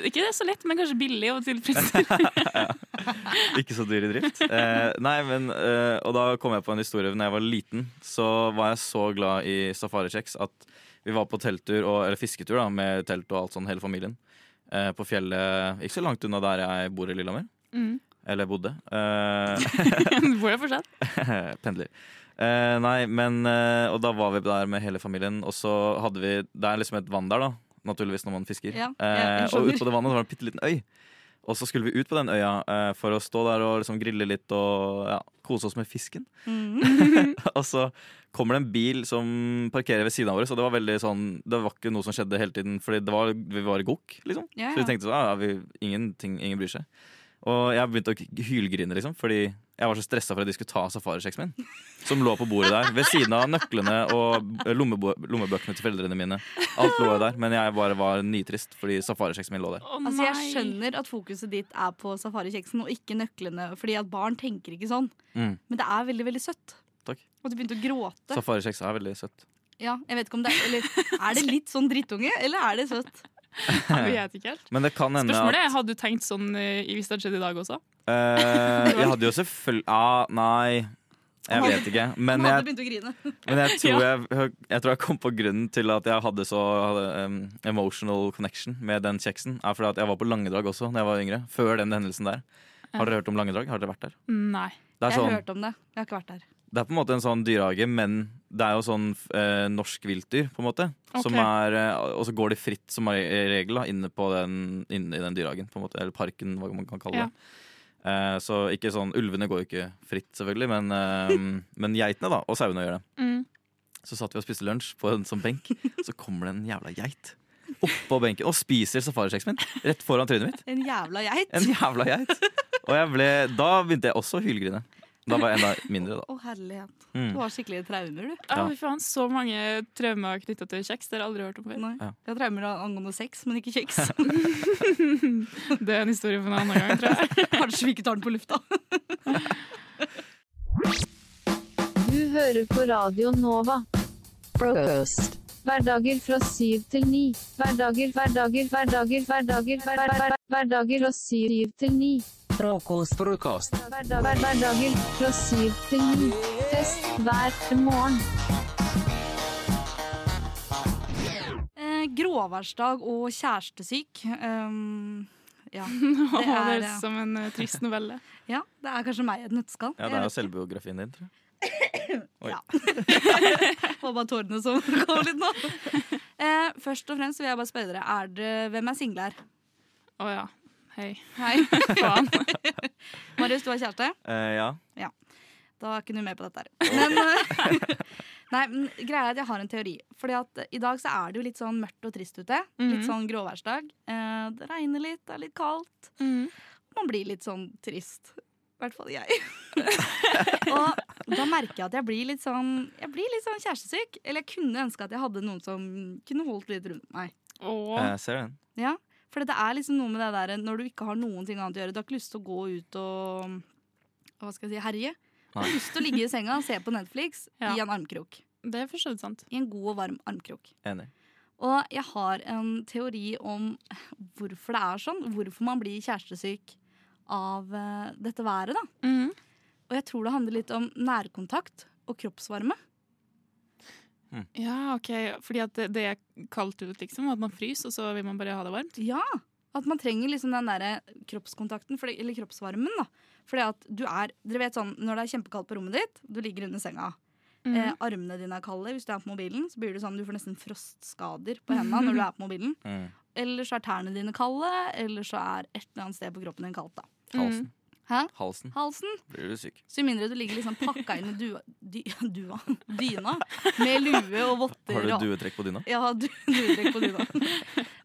ikke det er så lett, men kanskje billig og tilfredsstillende.
Ikke så dyr i drift. Eh, nei, men, eh, og da kom jeg på en historie Når jeg var liten. Så var jeg så glad i safarikjeks at vi var på telttur, og, eller fisketur da, med telt og alt sånn, hele familien. Eh, på fjellet ikke så langt unna der jeg bor i Lillehammer.
Mm.
Eller bodde. Eh,
Hvor er fortsatt?
Pendler. Eh, nei, men eh, Og da var vi der med hele familien, og så hadde vi Det er liksom et vann der, da. Naturligvis når man fisker.
Ja, jeg-
Eh,
jeg
og
skjønner.
ut på det vannet var det en bitte liten øy. Og så skulle vi ut på den øya eh, for å stå der og liksom grille litt og ja, kose oss med fisken.
Mm.
og så kommer det en bil som parkerer ved siden av oss, og det var veldig sånn Det var ikke noe som skjedde hele tiden, Fordi det var, vi var i gokk, liksom.
Ja,
Så vi
ja.
tenkte sånn, ja, ja, vi, ingenting, ingen bryr seg. Og jeg begynte å k- hylgrine, liksom, fordi jeg var så stressa for at de skulle ta safarikjeksen min. Som lå på bordet der, ved siden av nøklene og eh, lommebo lommebøkene til foreldrene mine. Alt lå jo der, men jeg bare var nitrist fordi safarikjeksen min lå der.
Altså, jeg skjønner at fokuset ditt er på safarikjeksen og ikke nøklene, fordi at barn tenker ikke sånn.
Mm,
Men det er veldig, veldig søtt.
takk.
Og du begynte å gråte.
Safarikjeks er veldig søtt.
Ja, jeg vet ikke om det er eller, Er det litt sånn drittunge, eller er det søtt?
Jeg vet ikke helt.
Men uh, det kan hende
Spørsmålet
at
er, hadde du tenkt sånn eh, i- hvis det hadde skjedd i dag også?
Eh, Jeg hadde jo selvfølgelig ah, Nei, jeg
Han hadde-
vet ikke. Men jeg
begynt å grine.
Men jeg tror, jeg, jeg tror jeg kom på grunnen til at jeg hadde så um, emotional connection med den kjeksen. Er fordi at jeg var på Langedrag også da jeg var yngre. Før den hendelsen der. Har dere hørt om Langedrag? Har dere vært der?
Nei.
Det er
Jeg
sånn-
har hørt om det. Jeg har ikke vært der.
Det er på en måte en sånn dyrehage, men det er jo sånn eh, norsk viltdyr, på en måte. Som
Ok.
er, eh, og så går de fritt, som er i regel, da, inne, på den, inne i den dyrehagen. På en måte, eller parken, hva man kan kalle det. Eh, så ikke sånn, ulvene går jo ikke fritt, selvfølgelig, men, eh, men geitene da, og sauene gjør det.
Mm.
Så satt vi og spiste lunsj på en sånn benk. Så kommer det en jævla geit oppå benken og spiser safarikjeksen min rett foran trynet mitt.
En jævla geit.
En jævla geit. Og jeg ble, da begynte jeg også å hylgrine. Da var jeg enda mindre, da.
Å, herlighet.
Mm.
Du har skikkelige traumer, du.
Ja.
Ja, vi faen, så mange traumer knytta til kjeks. Det har jeg aldri hørt om før.
Ja.
Jeg har traumer angående sex, men ikke kjeks.
Det er en historie for en annen gang, tror jeg.
Kanskje vi ikke tar den på lufta.
Du hører på Radio Nova. Frokost. Hverdager fra syv til ni. Hverdager, hverdager, hverdager, hverdager, hver- hver- hver- hverdager fra syv til ni.
Frokost. Frokost.
Hverdag- hver- Hverdager fra syv til ni. Fest hver morgen.
Eh, gråværsdag og kjærestesyk. Um, ja.
Å, det høres
eh,
som en eh, trist novelle.
Ja, det er kanskje meg i et nøtteskall.
Ja, det er jo selvbiografien din, tror jeg. Oi.
Det var bare tårene som kom litt nå. Eh, først og fremst vil jeg bare spørre dere, er det, hvem er single her?
Å ja. Hei.
Hei.
Faen.
Marius, du har kjæreste?
Eh, ja.
Ja. Da er ikke du med på dette her. Men, eh, nei, men greia er at jeg har en teori. Fordi at eh, i dag så er det jo litt sånn mørkt og trist ute.
Mhm.
Litt sånn gråværsdag. Eh, det regner litt, det er litt kaldt. Man blir litt sånn trist. I hvert fall jeg. og da merker jeg at jeg blir litt sånn Jeg blir litt sånn kjærestesyk. Eller jeg kunne ønske at jeg hadde noen som kunne holdt litt rundt meg.
Eh, Jeg ser den.
Ja, for det er liksom noe med det der når du ikke har noen ting annet å gjøre. Du har ikke lyst til å gå ut og hva skal jeg si, herje. Du har
Nei.
lyst til å ligge i senga og se på Netflix Ja. i en armkrok.
Det er for så vidt sant.
I en god og varm armkrok.
Enig.
Og jeg har en teori om hvorfor det er sånn. Hvorfor man blir kjærestesyk av eh, dette været, da.
Mhm.
Og jeg tror det handler litt om nærkontakt og kroppsvarme.
Mm.
Ja, ok. Fordi at det, det er kaldt ut, liksom, og at man fryser, og så vil man bare ha det varmt?
Ja. At man trenger liksom den der kroppskontakten, fordi, eller kroppsvarmen. da. Fordi at du er, dere vet sånn, Når det er kjempekaldt på rommet ditt, du ligger under senga.
Mhm.
Eh, armene dine er kalde hvis du er på mobilen. så blir Du sånn, du får nesten frostskader på hendene når du er på mobilen.
Mm.
Eller så er tærne dine kalde, eller så er et eller annet sted på kroppen din kaldt. da.
Halsen.
Hæ?
Halsen.
Halsen.
Blir du syk.
Så i mindre du ligger liksom pakka inn i dua, dy, dua, dyna med lue og votter
Har du
og-
duetrekk på dyna?
Ja, du, duetrekk på dyna.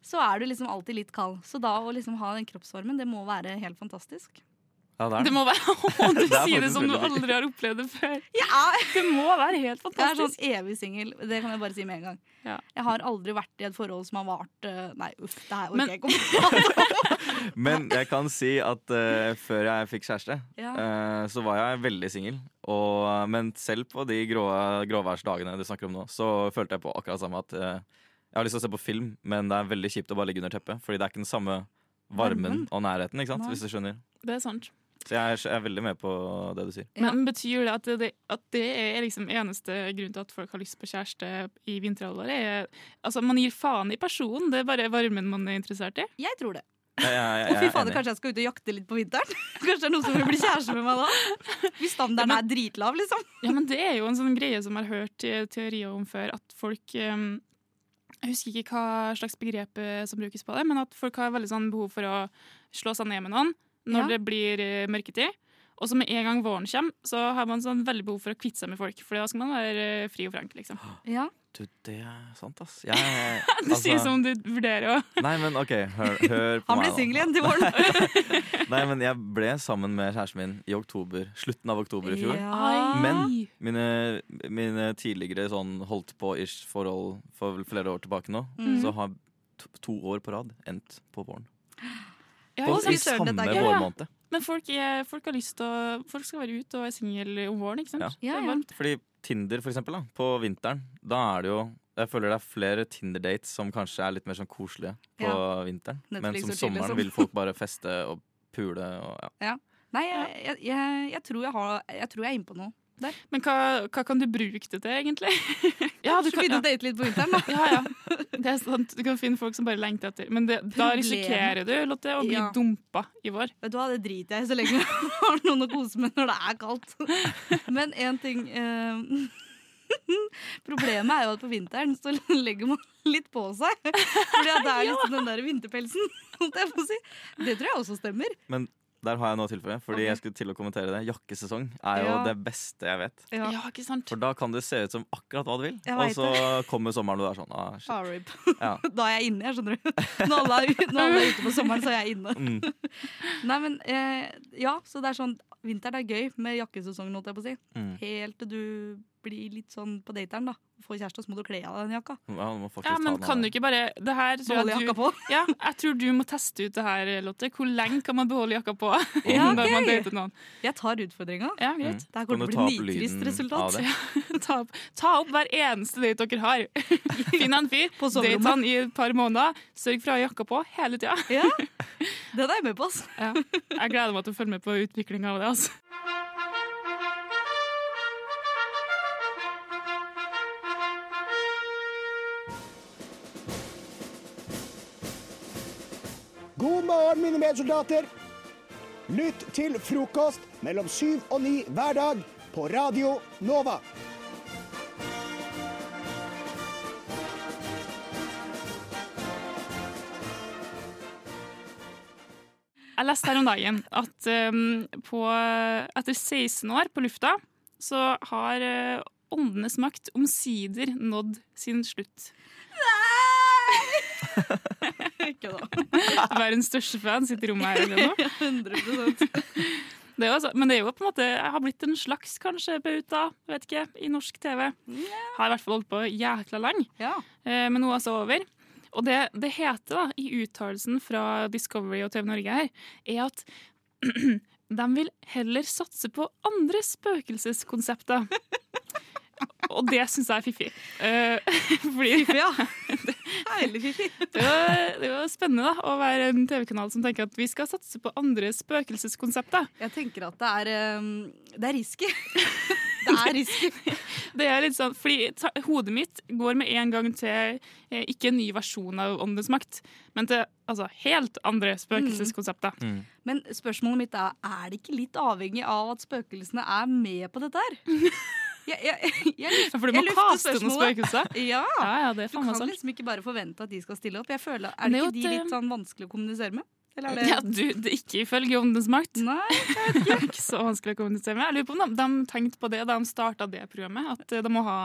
Så er du liksom alltid litt kald. Så da å liksom ha den kroppsvarmen, det må være helt fantastisk.
Ja, det er
Det
den.
må være- Å, du
Det er
sier det
faktisk
som du
veldig
aldri
digg.
har
opplevd det før.
Det må være helt Jeg
fantastisk.
er sånn evig singel. Det kan jeg bare si med en gang. Jeg har aldri vært i et forhold som har vart eh, Nei, uff, det her orker jeg ikke å
Men jeg kan si at eh, før jeg fikk kjæreste,
Ja.
eh, så var jeg veldig singel. Og- Men selv på de grå, gråværsdagene du snakker om nå, så følte jeg på akkurat samme at eh, jeg har lyst til å se på film, men det er veldig kjipt å bare ligge under teppet. Fordi det er ikke den samme varmen
Varmen.
og nærheten, ikke sant?
Nei.
hvis du skjønner.
Det er sant.
Så jeg er, jeg er veldig med på det du sier.
Men betyr det at det, at det er liksom eneste grunn til at folk har lyst på kjæreste i vinterhalvåret? er- Altså, man gir faen i personen, det er bare varmen man er interessert i?
Jeg tror det.
Jeg, jeg,
Å,
jeg,
fy
er
fader,
enig.
kanskje jeg skal ut og jakte litt på vinteren? Kanskje det er noen som vil bli kjæreste med meg da? Hvis standarden er dritlav, liksom.
Ja, men det er jo en sånn greie som jeg har hørt eh, teorier om før, at folk eh, Jeg husker ikke hva slags begrep eh, som brukes på det, men at folk har veldig sånn behov for å slå seg ned med noen når
Ja.
det blir eh, mørketid. Og så med en gang våren kommer, så har man sånn veldig behov for å kvitte seg med folk, for da skal man være eh, fri og frank, liksom.
Ja.
Du, det er sant, ass. Jeg, eh,
Du
Altså
sier som om du vurderer å
Nei, men OK, hør, hør på
Han blir
meg. nå.
singel igjen til våren.
Nei, men jeg ble sammen med kjæresten min i oktober, slutten av oktober i fjor.
Ja. Ai.
Men mine, mine tidligere sånn holdt på-ish forhold for vel flere år tilbake nå,
Mm.
Mhm.
så har to, to år på rad endt på våren.
Ja,
På-
ikke sant?
I
Søren,
samme
dette er-
vårmåned.
Men folk, er, folk har lyst til å Folk skal være ute og er single om våren, ikke sant? Det er varmt.
Fordi Tinder, for eksempel, da, på vinteren, da er det jo jeg føler det er flere Tinder-dates som kanskje er litt mer sånn koselige på
Ja.
vinteren. Men
Netflix
som
og chill,
sommeren
liksom.
vil folk bare feste og pule og ja.
Ja. Nei, jeg, jeg, jeg, jeg tror jeg har Jeg tror jeg er inne på noe. Der.
Men hva, hva kan du bruke det til, egentlig? ja, du
Begynne å date litt på vinteren, da.
ja, ja. Det er sant. Du kan finne folk som bare lengter etter. Men det, da
Problemet.
risikerer du, Lotte, å bli
Ja.
dumpa i vår.
Vet du hva, det driter jeg i så lenge jeg har noen å kose med når det er kaldt. Men én ting eh, Problemet er jo at på vinteren så legger man litt på seg. Fordi at det er liksom den der vinterpelsen. holdt jeg på å si. Det tror jeg også stemmer.
Men der har jeg noe å tilføye, fordi jeg skulle til å kommentere det. Jakkesesong er jo
Ja.
det beste jeg vet.
Ja.
ikke sant?
For da kan det se ut som akkurat hva du vil,
Jeg
og
vet
så
det.
kommer sommeren og du er sånn ah, shit.
Ah, rip.
Ja.
Da er jeg inne, jeg skjønner du. Når alle er, ut- når alle er ute på sommeren, så er jeg inne.
Mm.
Nei, men eh, ja, så det er sånn Vinteren er gøy med jakkesesongen, holdt jeg på å si.
Mm.
Helt til du blir litt sånn på dateren, da. Får kjæreste, så må du kle av deg den jakka.
Ja, du må faktisk
Ja, men
ta den av.
kan du ikke bare det her, tror
Beholde
jeg,
jakka
du, ja, jeg tror du må teste ut det her, Lotte. Hvor lenge kan man beholde jakka på
Ja,
når
ok.
man dater noen?
Jeg tar utfordringa.
Ja, greit.
Mm. Det her kommer Kan til å du bli ta opp nitrist lyden resultat. av det?
Ja, ta, opp, ta opp hver eneste date dere har. Finn en fyr, date
soverommet.
han i et par måneder, sørg for å ha jakka på hele tida.
Ja, den er jeg med på, altså.
Ja. Jeg gleder meg til å følge med på utviklinga av det. altså.
God morgen, mine medsoldater. Lytt til frokost mellom syv og ni hver dag på Radio Nova.
Jeg leste her om dagen at um, på, etter 16 år på lufta, så har eh, åndenes makt omsider nådd sin slutt.
Ikke da.
Verdens største fan sitter i rommet her eller noe.
100
Det er jo altså- men det er jo på en måte, jeg har blitt en slags kanskje bauta, vet ikke, i norsk TV. Har i hvert fall holdt på jækla lenge. Eh, men nå er altså over. Og det, det heter da, i uttalelsen fra Discovery og TV Norge her, er at de vil heller satse på andre spøkelseskonsepter. Og det syns jeg er fiffig. Eh, fordi, fiffig, ja. Det er veldig fiffig. Det var, det var spennende da, å være en TV-kanal som tenker at vi skal satse på andre spøkelseskonsepter.
Jeg tenker at det er, ehm, det er risky. Det er risky.
Det er litt sånn, fordi ta, Hodet mitt går med en gang til eh, ikke en ny versjon av Åndens makt, men til altså, helt andre spøkelseskonsepter.
Men spørsmålet mitt er er det ikke litt avhengig av at spøkelsene er med på dette her? Jeg, jeg, jeg,
Ja, for du
jeg
må
lufter
kaste noen
spørsmålet.
spøkelser.
Ja.
Ja, ja, det er
du
faen meg
kan
sant.
liksom ikke bare forvente at de skal stille opp. Jeg føler,
Men
er det
det er
ikke
jo
de
et, eh,
litt sånn vanskelig å kommunisere med? Eller er det
Ja, du, det er ikke ifølge Åndens makt.
Nei,
det er ikke så vanskelig å kommunisere med. Jeg lurer på om de, de tenkte på det da de starta det programmet, at eh, de må ha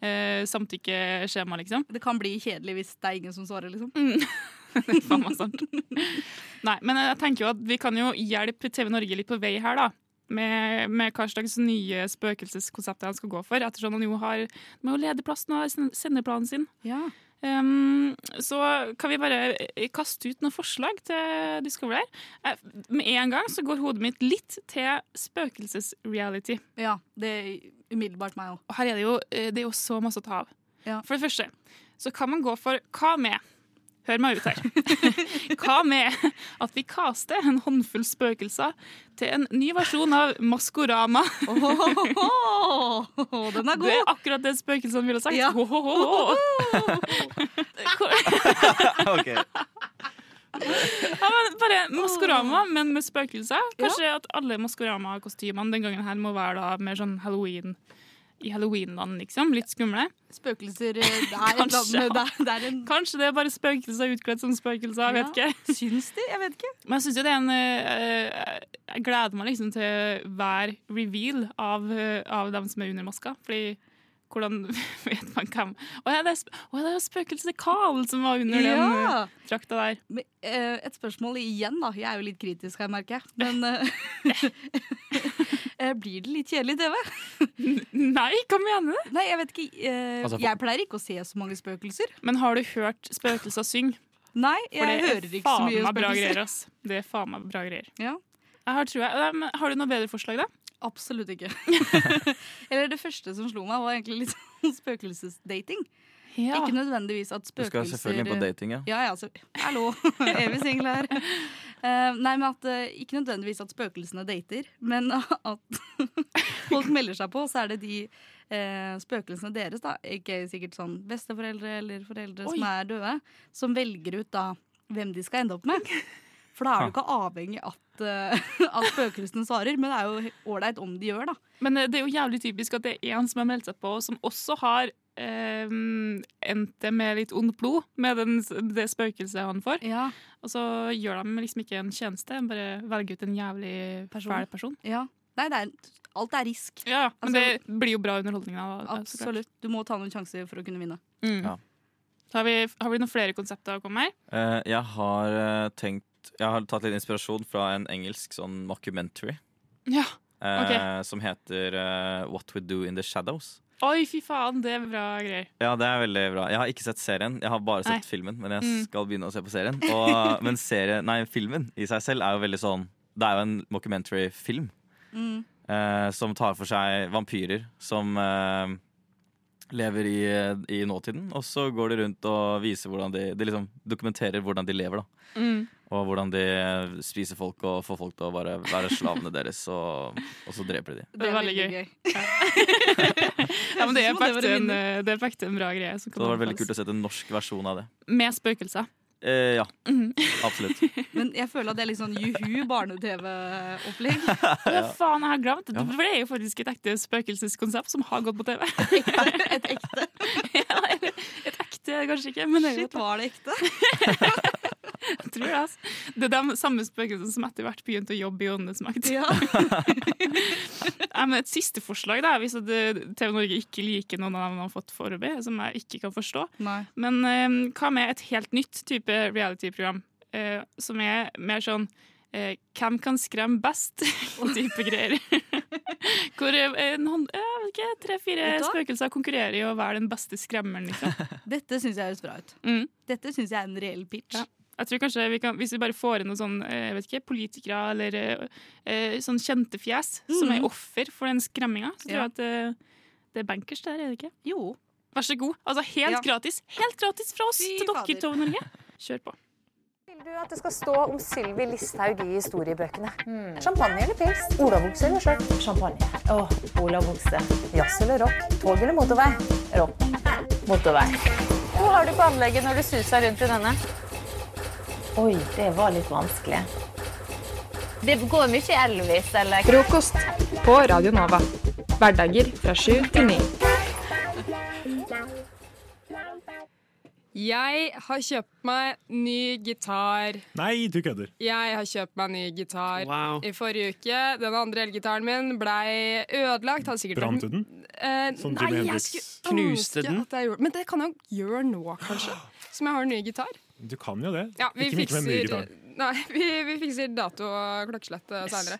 eh, samtykkeskjema, liksom.
Det kan bli kjedelig hvis det er ingen som svarer, liksom.
Mm. Det er faen meg sant. Nei, men jeg tenker jo at vi kan jo hjelpe TV Norge litt på vei her, da. Med, med hva slags nye spøkelseskonsepter han skal gå for, ettersom han jo har de har jo ledig plass nå i sen- sendeplanen sin. Um, så kan vi bare eh, kaste ut noen forslag til Discovery her. Eh, Med en gang så går hodet mitt litt til spøkelsesreality.
Ja, det er umiddelbart meg òg.
Og her er det jo, eh, det er jo så masse å ta av. For det første så kan man gå for hva med Hør meg ut her. Hva med at vi kaster en håndfull spøkelser til en ny versjon av Maskorama?
den er god.
Det er akkurat det spøkelsene ville sagt. Ho, ho, ho, ho. Ja, men bare Maskorama, men med spøkelser. Kanskje at alle Maskorama-kostymene den gangen her må være da mer sånn halloween i halloweenland, liksom. Litt skumle.
Spøkelser eh, det er et
Kanskje,
land
ja.
det er, det er en
Kanskje det er bare spøkelser utkledd som spøkelser, jeg
Ja,
vet ikke.
Syns de? Jeg vet ikke.
Men jeg synes jo det er en eh, Jeg gleder meg liksom til hver reveal av, eh, av dem som er under maska. Fordi hvordan vet man hvem Å ja, det er, sp å, ja, det er jo spøkelset Carl som var under den
Ja.
eh, drakta der.
Men, eh, et spørsmål igjen, da. Jeg er jo litt kritisk her, merker jeg. Men eh, eh, blir det litt kjedelig TV?
Nei, hva mener
du? Nei, jeg vet ikke. eh,
Altså, for-
Jeg pleier ikke å se så mange spøkelser.
Men har du hørt spøkelser synge?
Nei,
For
jeg
det er
hører ikke så mye
faen meg bra
spøkelser.
greier, ass. Det er faen meg bra greier.
Ja.
Jeg har, trua. Nei, men har du noe bedre forslag, da?
Absolutt ikke. Eller det første som slo meg, var egentlig litt sånn spøkelsesdating.
Ja.
Ikke nødvendigvis at
Du skal
spøkelser
selvfølgelig inn på dating, ja.
Ja, ja, så, hallo. Evig singel her. Eh, nei, men at eh, Ikke nødvendigvis at spøkelsene dater, men at folk melder seg på, så er det de eh, spøkelsene deres, da, ikke sikkert sånn besteforeldre eller foreldre som
Oi.
er døde, som velger ut da hvem de skal ende opp med. For da er du ikke avhengig at, eh, at spøkelsene svarer, men det er jo ålreit om de gjør, da.
Men eh, det er jo jævlig typisk at det er en som har meldt seg på, og som også har eh, endt det med litt ondt blod, med den, det spøkelset han får. Og så gjør de liksom ikke en tjeneste, de bare velger ut en jævlig fæl person.
Ja. Nei, det er, alt er risk.
Ja, men
Altså-
det blir jo bra underholdning av det. så klart.
Absolutt. Du må ta noen sjanser for å kunne vinne.
Mm.
Ja.
Har, vi, har vi noen flere konsepter å komme med?
Eh, jeg har eh, tenkt Jeg har tatt litt inspirasjon fra en engelsk sånn mockumentary
Ja.
eh,
Ok.
som heter eh, What We Do In The Shadows.
Oi, fy faen, det er bra greier.
Ja, det er veldig bra. Jeg har ikke sett serien, jeg har bare sett
Nei.
filmen. Men jeg
Mm.
skal begynne å se på serien. Og, men serie, nei, filmen i seg selv er jo veldig sånn Det er jo en mockumentary-film
Mm.
eh, som tar for seg vampyrer som eh, lever i, i nåtiden. Og så går de rundt og viser hvordan de, de liksom dokumenterer hvordan de lever. da
Mm.
Og hvordan de eh, spiser folk og får folk til å bare være slavene deres, og, og så dreper de de.
Det er veldig gøy. Ja, men det er
Jeg synes det
på
var
ekte en,
en
eh, det er på ekte en bra greie. som
Så
kan
det hadde vært veldig
anbefales.
kult å sett en norsk versjon av det.
Med spøkelser.
Eh, ja,
Mhm.
absolutt.
Men jeg føler at det er litt sånn juhu barne-TV-opplegg.
Ja, faen, jeg har glemt det.
Ja.
For det er jo faktisk et ekte spøkelseskonsept som har gått på TV. Et ekte? ja, eller et ekte, kanskje ikke. Men Shit,
var det ekte?
jeg tror det. Altså. Det er de samme spøkelsene som etter hvert begynte å jobbe i Åndenes makt. Nei, men et siste forslag, da, hvis at eh, TV Norge ikke liker noen av dem de har fått foreløpig, som jeg ikke kan forstå.
Nei.
Men eh, hva med et helt nytt type reality-program, eh, som er mer sånn eh, hvem kan skremme best? type greier. Hvor eh, en hånd- jeg vet ikke, tre-fire
Vet du hva?
spøkelser konkurrerer i å være den beste skremmeren. Liksom.
Dette syns jeg høres bra ut.
Mm.
Dette syns jeg er en reell pitch.
Jeg tror kanskje vi kan, Hvis vi bare får inn noen sånn, eh, jeg vet ikke, politikere eller eh, eh, sånn kjente fjes som
Mm.
er offer for den skremminga, så tror
Ja.
jeg at eh,
Det er bankers der, er det ikke?
Jo.
Vær så god. Altså helt
Ja.
gratis. Helt gratis fra oss til dere i Tove Norge. Kjør på.
Vil du at det skal stå om Sylvi Listhaug i historiebøkene? Champagne eller pils? Olavokse eller sjøl? Champagne. Åh, Olavokse. Jazz eller rock? Tog eller motorvei? Rock. Motorvei. Hva har du på anlegget når du suser rundt i denne? Oi, det var litt vanskelig. Det går mye Elvis eller
Frokost på Radio Nova. Hverdager fra sju til ni.
Jeg har kjøpt meg ny gitar.
Nei, du kødder.
Jeg har kjøpt meg ny gitar.
Wow.
I forrige uke, den andre elgitaren min blei ødelagt. Hadde sikkert
Brant du den?
Eh,
Som
nei,
Jimi
jeg
Hendrix.
skulle
Knuste
ønske
den?
At jeg gjorde. Men det kan jeg jo gjøre nå, kanskje. Som jeg har ny gitar.
Du kan jo det.
Ja, vi
ikke mye med ny
fikser,
gitar.
nei, vi, vi fikser dato og klokkeslett eh, senere.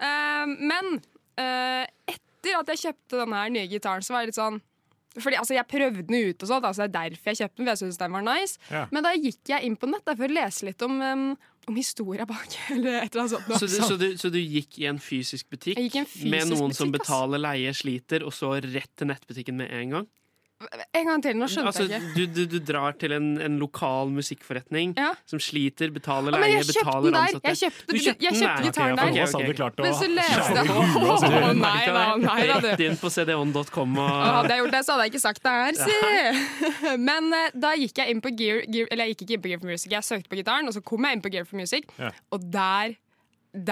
Eh, men eh, etter at jeg kjøpte denne her nye gitaren, så var jeg litt sånn fordi altså, Jeg prøvde den ut, og sånt, altså, det er derfor jeg kjøpte den. for jeg synes den var nice.
Ja.
Men da gikk jeg inn på nett da, for å lese litt om, um, om historia bak. eller et eller annet sånt. da.
Så du, så, du, så du gikk i en fysisk butikk
Jeg gikk i en fysisk
med noen som
butikk, ass.
betaler leie, sliter, og så rett til nettbutikken med en gang?
En gang til, nå skjønte
Altså,
jeg ikke.
du, du, du drar til en, en lokal musikkforretning som sliter, betaler
Ja, men
leie,
jeg kjøpte den
betaler
der.
ansatte.
Jeg kjøpte-
Du
jeg kjøpte
den der.
gitaren
Ok, ok,
der.
ok.
Så hadde du klart å Men så leste skjære jeg- i huet, altså. Åh, nei da, nei da, du.
Rett inn på cdon.com
Og hadde jeg
og
gjort det, så hadde jeg ikke sagt det her, si! Men eh, da gikk jeg inn på Gear, Gear Eller jeg gikk ikke inn på Gear for Music, jeg søkte på gitaren, og så kom jeg inn på Gear for Music,
Ja.
og der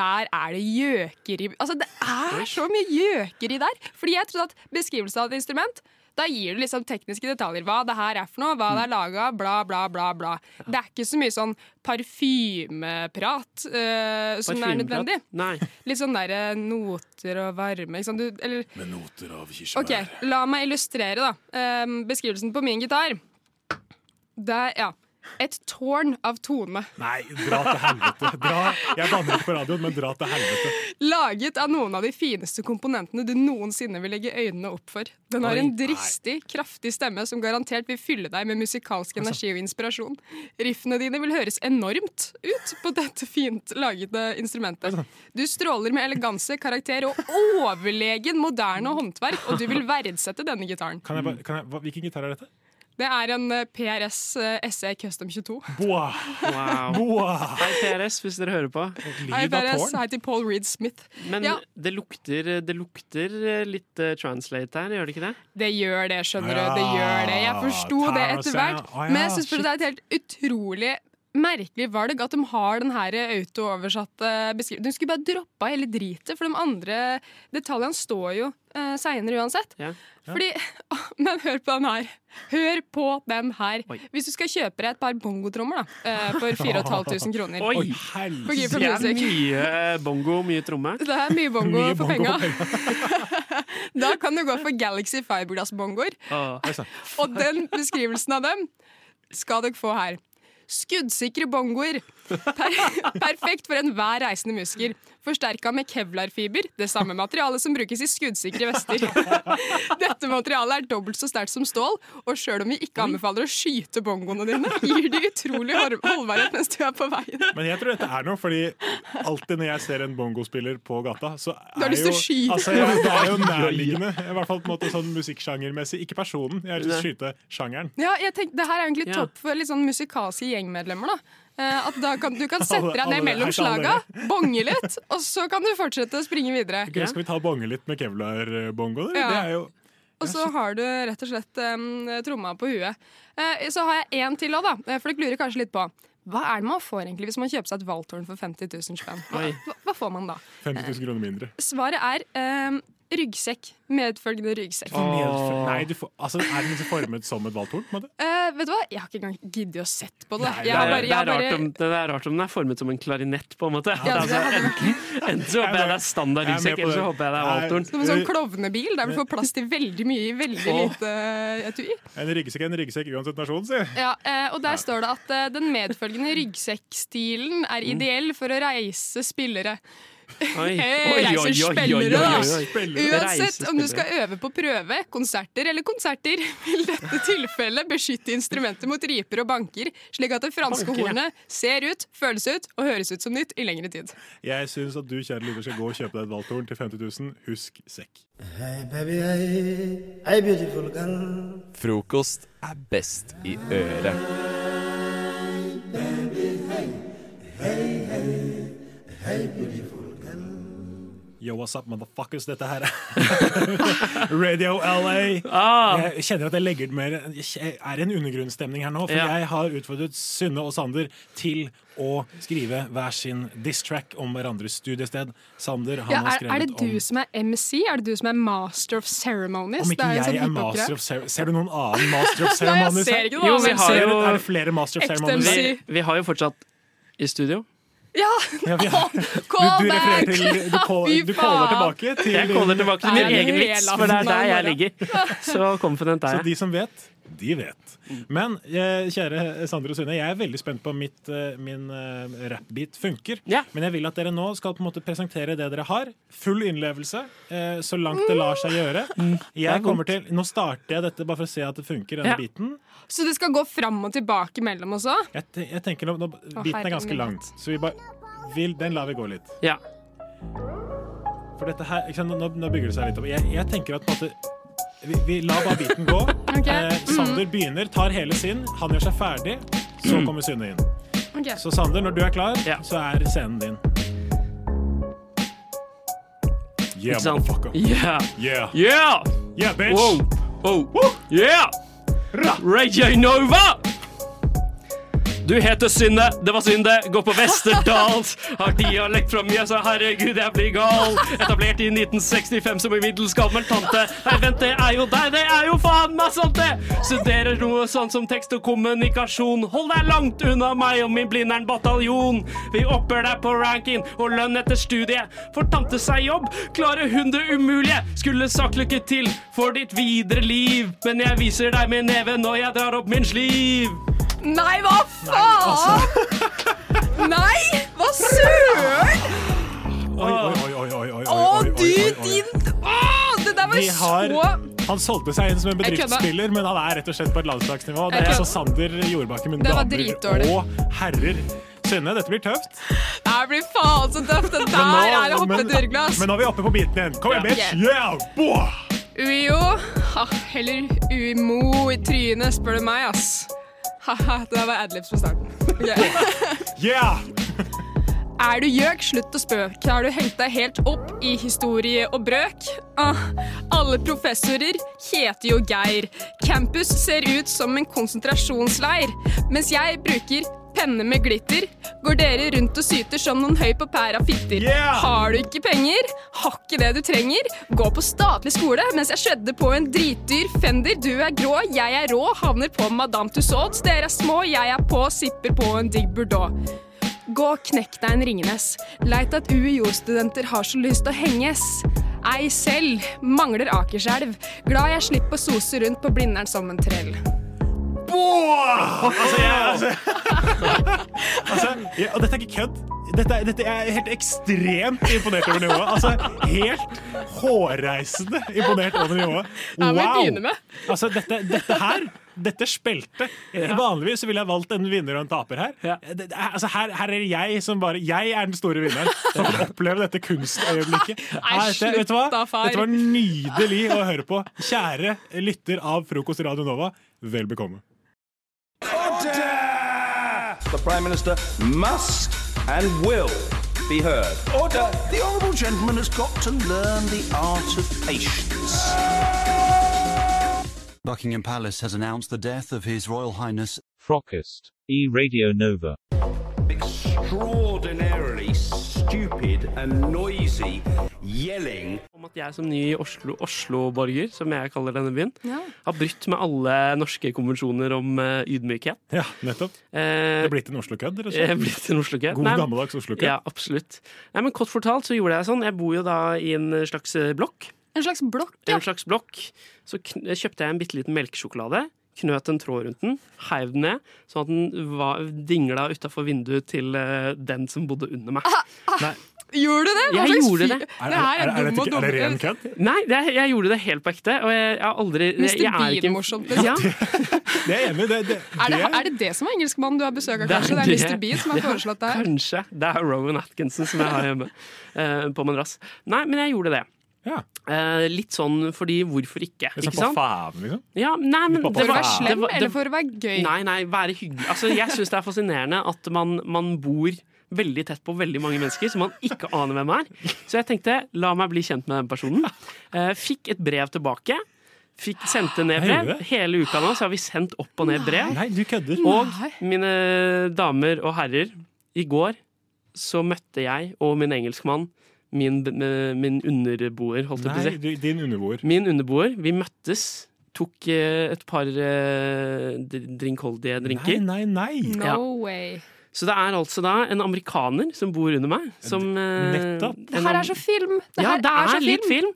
der er det gjøkeri Altså, det er så mye gjøkeri der! Fordi jeg trodde at beskrivelse av et instrument da gir du liksom tekniske detaljer. Hva det her er for noe, hva det er laga av, bla, bla, bla. bla. Det er ikke så mye sånn parfymeprat eh, som er
Parfymeprat?
nødvendig.
Nei.
Litt sånn derre noter og varme, ikke sant. Du, eller,
Med noter av kirsebær.
Ok, La meg illustrere da Ehm, beskrivelsen på min gitar. Det er ja, et tårn av tone.
Nei, dra til helvete. Dra. Jeg banner ikke på radioen, men dra til helvete.
Laget av noen av de fineste komponentene du noensinne vil legge øynene opp for. Den har
Oi.
en dristig, kraftig stemme som garantert vil fylle deg med
Altså.
musikalsk energi og inspirasjon. Riffene dine vil høres enormt ut på dette fint lagede instrumentet.
Altså.
Du stråler med eleganse, karakter og overlegen moderne håndverk, og du vil verdsette denne gitaren. Mm.
Kan jeg bare, kan jeg, hva, hvilken gitar er dette?
Det er en eh, PRS eh, SE Custom 22.
Boa.
Wow.
Boa.
Hei, PRS, hvis dere hører på.
Hei, PRS heter Paul Reed Smith.
Men
ja,
det, lukter, det lukter litt eh, translate her, gjør det ikke det?
det gjør det, skjønner du. Det
Ja,
gjør det. Jeg forsto det etter
Tarzan.
hvert.
Ah, Å, ja,
Men jeg syns det er et helt utrolig merkelig valg at de har den her autooversatte beskrivelsen. De skulle bare droppa hele dritet, for de andre detaljene står jo uh, seinere uansett.
Ja.
Fordi, Men hør på den her. Hør på den her. Hvis du skal kjøpe deg et par bongotrommer da, eh, for 4500 kroner
Oi,
På Gear for
Det er
Music.
mye bongo, mye tromme.
Det er mye bongo for penga. da kan du gå for Galaxy Fiberglass-bongoer. Og den beskrivelsen av dem skal dere få her. Skuddsikre bongoer. Per perfekt for enhver reisende musiker. Forsterka med kevlarfiber, det samme materialet som brukes i skuddsikre vester. Dette materialet er dobbelt så sterkt som stål, og sjøl om vi ikke anbefaler å skyte bongoene dine, gir de utrolig hår- holdbarhet mens du er på veien.
Men jeg tror dette er noe, fordi alltid når jeg ser en bongospiller på gata, så
Du har
er
lyst til å skyte.
altså, ja, Det er jo nærliggende, i hvert fall på en måte sånn musikksjangermessig. Ikke personen, jeg har lyst til å skyte sjangeren.
Ja, jeg tenkte, Det her er egentlig
Ja.
topp for litt sånn musikalske gjengmedlemmer. da. Eh, At da kan, Du kan sette
Alle-
deg ned
alle-
mellom
her kan alle.
slaga, bonge litt, og så kan du fortsette å springe videre.
Ok, Skal vi ta og bonge litt med kevlar-bongo? Det?
Ja.
det er jo
Og så har du rett og slett em, tromma på huet. Eh, Så har jeg én til òg, da, eh, for dere lurer kanskje litt på. Hva er det man får egentlig hvis man kjøper seg et valthorn for 50 000 spenn? Hva,
Oi.
hva- hva får man da?
50 000 kroner mindre.
Svaret er em, ryggsekk. Medfølgende ryggsekk.
Åh. Nei, du får, altså, er den liksom formet som et valthorn? på en måte?
Eh, vet du hva? Jeg har ikke engang giddet å sett på det.
det,
Jeg
er,
har bare-
det,
jeg har
er rart
bare-
om, det er rart om den er formet som en klarinett, på en måte.
Ja, det
altså,
hadde
enten så håper jeg det er standard
Jeg er med på
ryggsekk, eller så
det.
håper jeg det er
Nei.
valtoren.
Som en sånn klovnebil, der du får plass til veldig mye i veldig
Åh.
lite etui.
En ryggsekk er en ryggsekk uansett nasjon, sier jeg.
Ja, eh, og der står det at eh, den medfølgende ryggsekkstilen er
Mm.
ideell for å reise spillere.
Oi.
Hey,
Oi, oi,
reiser
oi, oi,
spillere,
oi,
da!
oi, oi.
Uansett om du
Reisespillere.
skal øve på prøve, konserter eller konserter, vil dette tilfellet beskytte instrumentet mot riper og banker, slik at det franske
Banker, ja.
hornet ser ut, føles ut og høres ut som nytt i lengre tid.
Jeg syns at du, kjære lytter, skal gå og kjøpe deg et valthorn til 50 000. Husk sekk.
Hey baby, hey, hey beautiful girl.
Frokost er best i øret.
Yo, what's up, motherfuckers? Dette her er Radio LA.
Ah.
Jeg kjenner at jeg legger det mer Jeg er i en undergrunnsstemning her nå, for
Ja.
jeg har utfordret Synne og Sander til å skrive hver sin diss-track om hverandres studiested. Sander, han
Ja,
har
er, er det
skrevet
du som er MC? Er det du som er master of ceremonies?
om om
Det
ikke
jo en
jeg
sånn
er master
hiphop-greie.
of ceremonies Ser du noen annen master of
Nei, jeg
ceremonies?
ser ikke noe Jo, vi annet. har
Ser du-
jo-
Er det flere master of ceremonies?
Vi, vi har jo fortsatt i studio.
Ja!
Ja, vi har-
Call
du, du refererer
back!
til Du, call,
Fy
du caller
faen!
tilbake til
Jeg caller tilbake til
Nei,
min egen
det er
vits,
hele
for det er
aften.
der jeg ligger. Så confident er
Så
jeg. Mm.
de som vet, de vet. Men eh, kjære Sander og Sunne, jeg er veldig spent på om mitt, eh, min eh, rappbeat funker. Men jeg vil at dere nå skal på en måte presentere det dere har. Full innlevelse, eh, så langt det lar seg gjøre.
Mm.
Jeg kommer til, Nå starter jeg dette bare for å se at det funker, denne
Ja.
biten.
Så det skal gå fram og tilbake mellom oss òg?
Jeg, te- jeg tenker nå, nå Biten er ganske
herregud.
lang, så vi bare vil, den lar vi gå litt. For dette her, ikke sant, nå, nå bygger det seg litt opp. Jeg, jeg tenker at på en måte vi, vi lar bare biten gå. Eh, Sander
Mm.
begynner, tar hele sin. Han gjør seg ferdig. Så kommer Synne inn. Så Sander, når du er klar, så er scenen din. Yeah,
Ikke sant?
motherfucker.
Yeah.
Yeah.
Yeah!
Yeah, bitch.
Wow. Wow. Yeah! Radio Nova! Du heter Synne, det var synd det. Går på Westerdals. Har dialekt fra Mjøsa, herregud, jeg blir gal. Etablert i 1965 som en middelsgammel tante. Nei, vent, det er jo deg, det er jo faen meg sant, det! Studerer noe sånn som tekst og kommunikasjon. Hold deg langt unna meg og min Blindern-bataljon. Vi opper deg på ranking og lønn etter studie. Får tante seg jobb, klarer hun det umulige. Skulle sagt lykke til for ditt videre liv, men jeg viser deg med neven når jeg drar opp min sliv.
Nei, hva
altså.
faen?! Nei, hva søren?!
Oi, oi, oi, oi, oi, oi, oi,
Å,
oi,
du,
oi, oi.
din Å, Det der var
De har,
så
han solgte seg inn som en
Jeg kødda.
bedriftsspiller, men han er rett og slett på et landslagsnivå.
Jeg
Det er
kødda.
så Sander Jordbakken, men
Det var
damer
dritdårlig.
og herrer. Synne, dette blir tøft.
Det her blir faen så tøft! Det
Men
der
nå-
er å hoppe
men-
dørglass!
Men nå er vi oppe på biten igjen. Kom igjen,
Ja.
bitch! Yeah! Boah!
Ujo, ha, eller uimo i trynet, spør du meg, ass. Ha-ha, det der var adlibs på starten.
Yeah!
Er du gjøk, slutt å spøke. Har du hengt deg helt opp i historie og brøk? Ah, alle professorer heter jo Geir. Campus ser ut som en konsentrasjonsleir. Mens jeg bruker penne med glitter, går dere rundt og syter som noen høy på pæra fitter. Har du ikke penger? Har ikke det du trenger? Gå på statlig skole mens jeg skjedde på en dritdyr fender. Du er grå, jeg er rå, havner på Madame Tussauds. Dere er små, jeg er på, sipper på en digg Bordeaux. Gå og knekk deg en Ringenes. Leit at UiO-studenter har så lyst til å henges. Ei selv. Mangler Akerselv. Glad jeg slipper å sose rundt på Blindern som en trell.
Boah! Altså, jeg, altså, altså jeg, Og dette er ikke kødd. Dette, er- dette jeg er helt ekstremt imponert over nivået. Altså, helt hårreisende imponert over nivået.
Ja, hva begynner med?
Altså, dette, dette her dette speltet. Vanligvis så ville jeg valgt en vinner og en taper her. Det- det er- Altså, her, her er jeg som bare Jeg er den store vinneren som får oppleve dette kunstøyeblikket.
Nei,
Ja, dette- vet du hva?
slutt da, far.
Dette var nydelig å høre på. Kjære lytter av Frokost i Radio Nova, vel bekomme.
The Prime Minister must and will be heard. Order! The Honourable Gentleman has got to learn the art of patience.
Buckingham Palace has announced the death of His Royal Highness. Frocust. E Radio Nova.
Extraordinarily stupid and noisy yelling.
Om at jeg som ny Oslo- Oslo-borger, som jeg kaller denne byen,
Ja.
har brutt med alle norske konvensjoner om eh, ydmykhet.
Ja, nettopp. Det
Eh,
er blitt en Oslo-kødd, rett og
Jeg
slett.
er blitt en Oslo-kødd.
God
Nei, men-
gammeldags Oslo-kødd.
Ja, absolutt. Nei, men Kort fortalt så gjorde jeg sånn. Jeg bor jo da i en slags eh, blokk.
En slags blokk,
En slags blokk. Så kn kjøpte jeg en bitte liten melkesjokolade. Knøt en tråd rundt den, heiv den ned, sånn at den var, dingla utafor vinduet til eh, den som bodde under meg.
Nei,
Gjorde du det? Hva
Jeg
slags
gjorde
fyr-
det.
Det her er, dum og dum.
Nei, det er, jeg gjorde det helt på ekte. Og jeg, jeg har aldri
Mr.
jeg er ikke-
Bean-morsomt,
Ja,
Det er jeg enig i. Det, det,
liksom. Er det, er det det som er engelskmannen du har besøk av, kanskje? Det er Mr. Bean som har
Ja,
foreslått det her.
Kanskje. Det er Rowan Atkinson som jeg har hjemme eh, på madrass. Nei, men jeg gjorde det. Eh, litt sånn fordi hvorfor ikke?
Liksom
ikke
på
sant?
faen, liksom?
Ja, nei, men
For å
det var-
være slem,
det var- det-
eller for å være gøy?
Nei, nei, være hyggelig. Altså, jeg syns det er fascinerende at man, man bor veldig tett på veldig mange mennesker som man ikke aner hvem er. Så jeg tenkte la meg bli kjent med den personen. Eh, fikk et brev tilbake. Fikk, sendte
Nei,
ned
gjorde
brev.
du det?
Hele uka nå så har vi sendt opp og ned brev.
Nei, du kødder.
Og mine damer og herrer, i går så møtte jeg og min engelskmann min, eh, min underboer, holdt jeg på å
Nei,
si.
du, din underboer.
Min underboer. Vi møttes, tok eh, et par eh, dr- drinkholdige drinker.
Nei, nei, nei.
Ja.
No way.
Så det er altså da en amerikaner som bor under meg. Som, eh,
Nettopp.
en
Det her
am-
er så film! Det
ja,
her
det er,
så
litt film.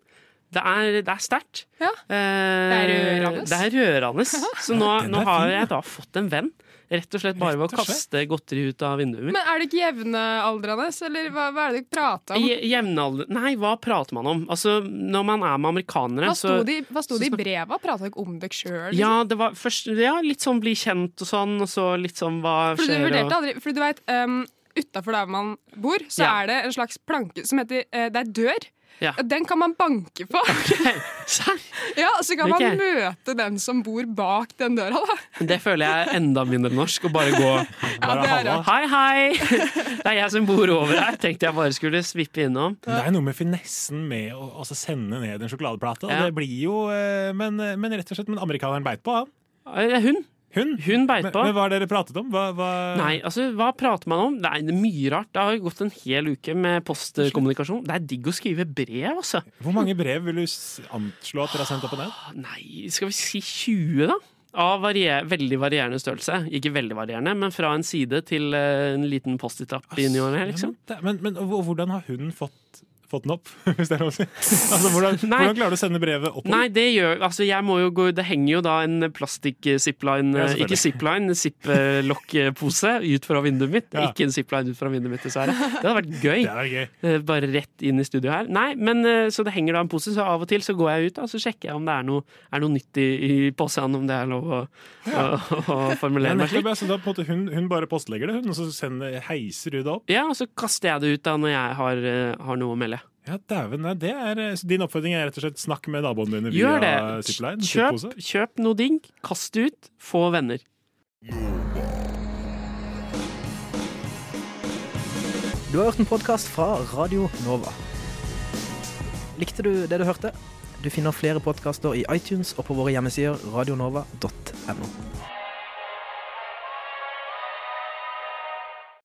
Det er, det er sterkt. Eh,
Det er rørende.
Det er rørende. Så nå, nå har jeg da fått en venn. Rett og slett bare ved å kaste godteri ut av vinduet mitt.
Men er det ikke jevnaldrende, eller hva, hva er det dere prater om?
I Jevnalder Nei, hva prater man om? Altså, når man er med amerikanere,
Hva sto
så
det i- hva sto
så
det i
snak-
breva? Prata dere om dere sjøl? Liksom?
Ja, det var først ja, litt sånn bli kjent og sånn, og så litt sånn hva
Fordi du
skjer
vurderte
og
aldri Fordi du vet, um, Utafor der man bor, så
Ja.
er det en slags planke som heter eh, Det er dør.
Ja.
Og Den kan man banke på. ja, og Så kan
Ok.
man møte den som bor bak den døra, da.
Det føler jeg er enda mindre norsk, å bare gå
det er
«Halla,
rart.
Hei, hei! Det er jeg som bor over her. Tenkte jeg bare skulle svippe innom.
Det er noe med finessen med å altså, sende ned en sjokoladeplate. og
Ja.
Det blir jo, eh, men, men rett og slett, men amerikaneren beit på, han.
Eh, Hun.
Hun,
beit
men,
på.
Men hva har dere pratet om? Hva, hva...
Nei, altså, hva prater man om? Det er mye rart. Det har jo gått en hel uke med postkommunikasjon. Det er digg å skrive brev, altså.
Hvor mange brev vil du s- anslå at dere har sendt opp og ned?
Nei, skal vi si 20, da? Av varier, veldig varierende størrelse. Ikke veldig varierende, men fra en side til eh, en liten Post-It-app i ny og ne, liksom.
Ja, men, det- men, men og hvordan har hun fått, fått den opp, hvis det er lov å si? Altså, hvordan,
Nei.
hvordan klarer du å sende brevet opp?
Nei, det gjør Altså, jeg må jo gå Det henger jo da en plastikk-zipline
Ja, selvfølgelig.
Ikke zipline, ziplock-pose ut fra vinduet mitt.
Ja.
Ikke en zipline ut fra vinduet mitt, dessverre. Det hadde vært gøy.
Det hadde vært gøy.
Eh, Bare rett inn i studio her. Nei, men eh, så det henger da en pose, så av og til så går jeg ut da, så sjekker jeg om det er noe, er noe nytt i, i posen, om det er lov å, å, å, å
Ja,
formulere meg
nettopp,
slik.
ja, så da, på en måte, hun, hun bare postlegger det, hun, og så sender, heiser du det opp?
Ja, og så kaster jeg det ut da når jeg har, eh, har noe å melde.
Ja, dæven, nei, det er, så din oppfordring er rett og slett snakk med naboene dine via
Gjør det!
Zipline?
Kjøp, kjøp noe ding, kast det ut, få venner.
Du har hørt en podkast fra Radio Nova. Likte du det du hørte? Du finner flere podkaster i iTunes og på våre hjemmesider radionova.no.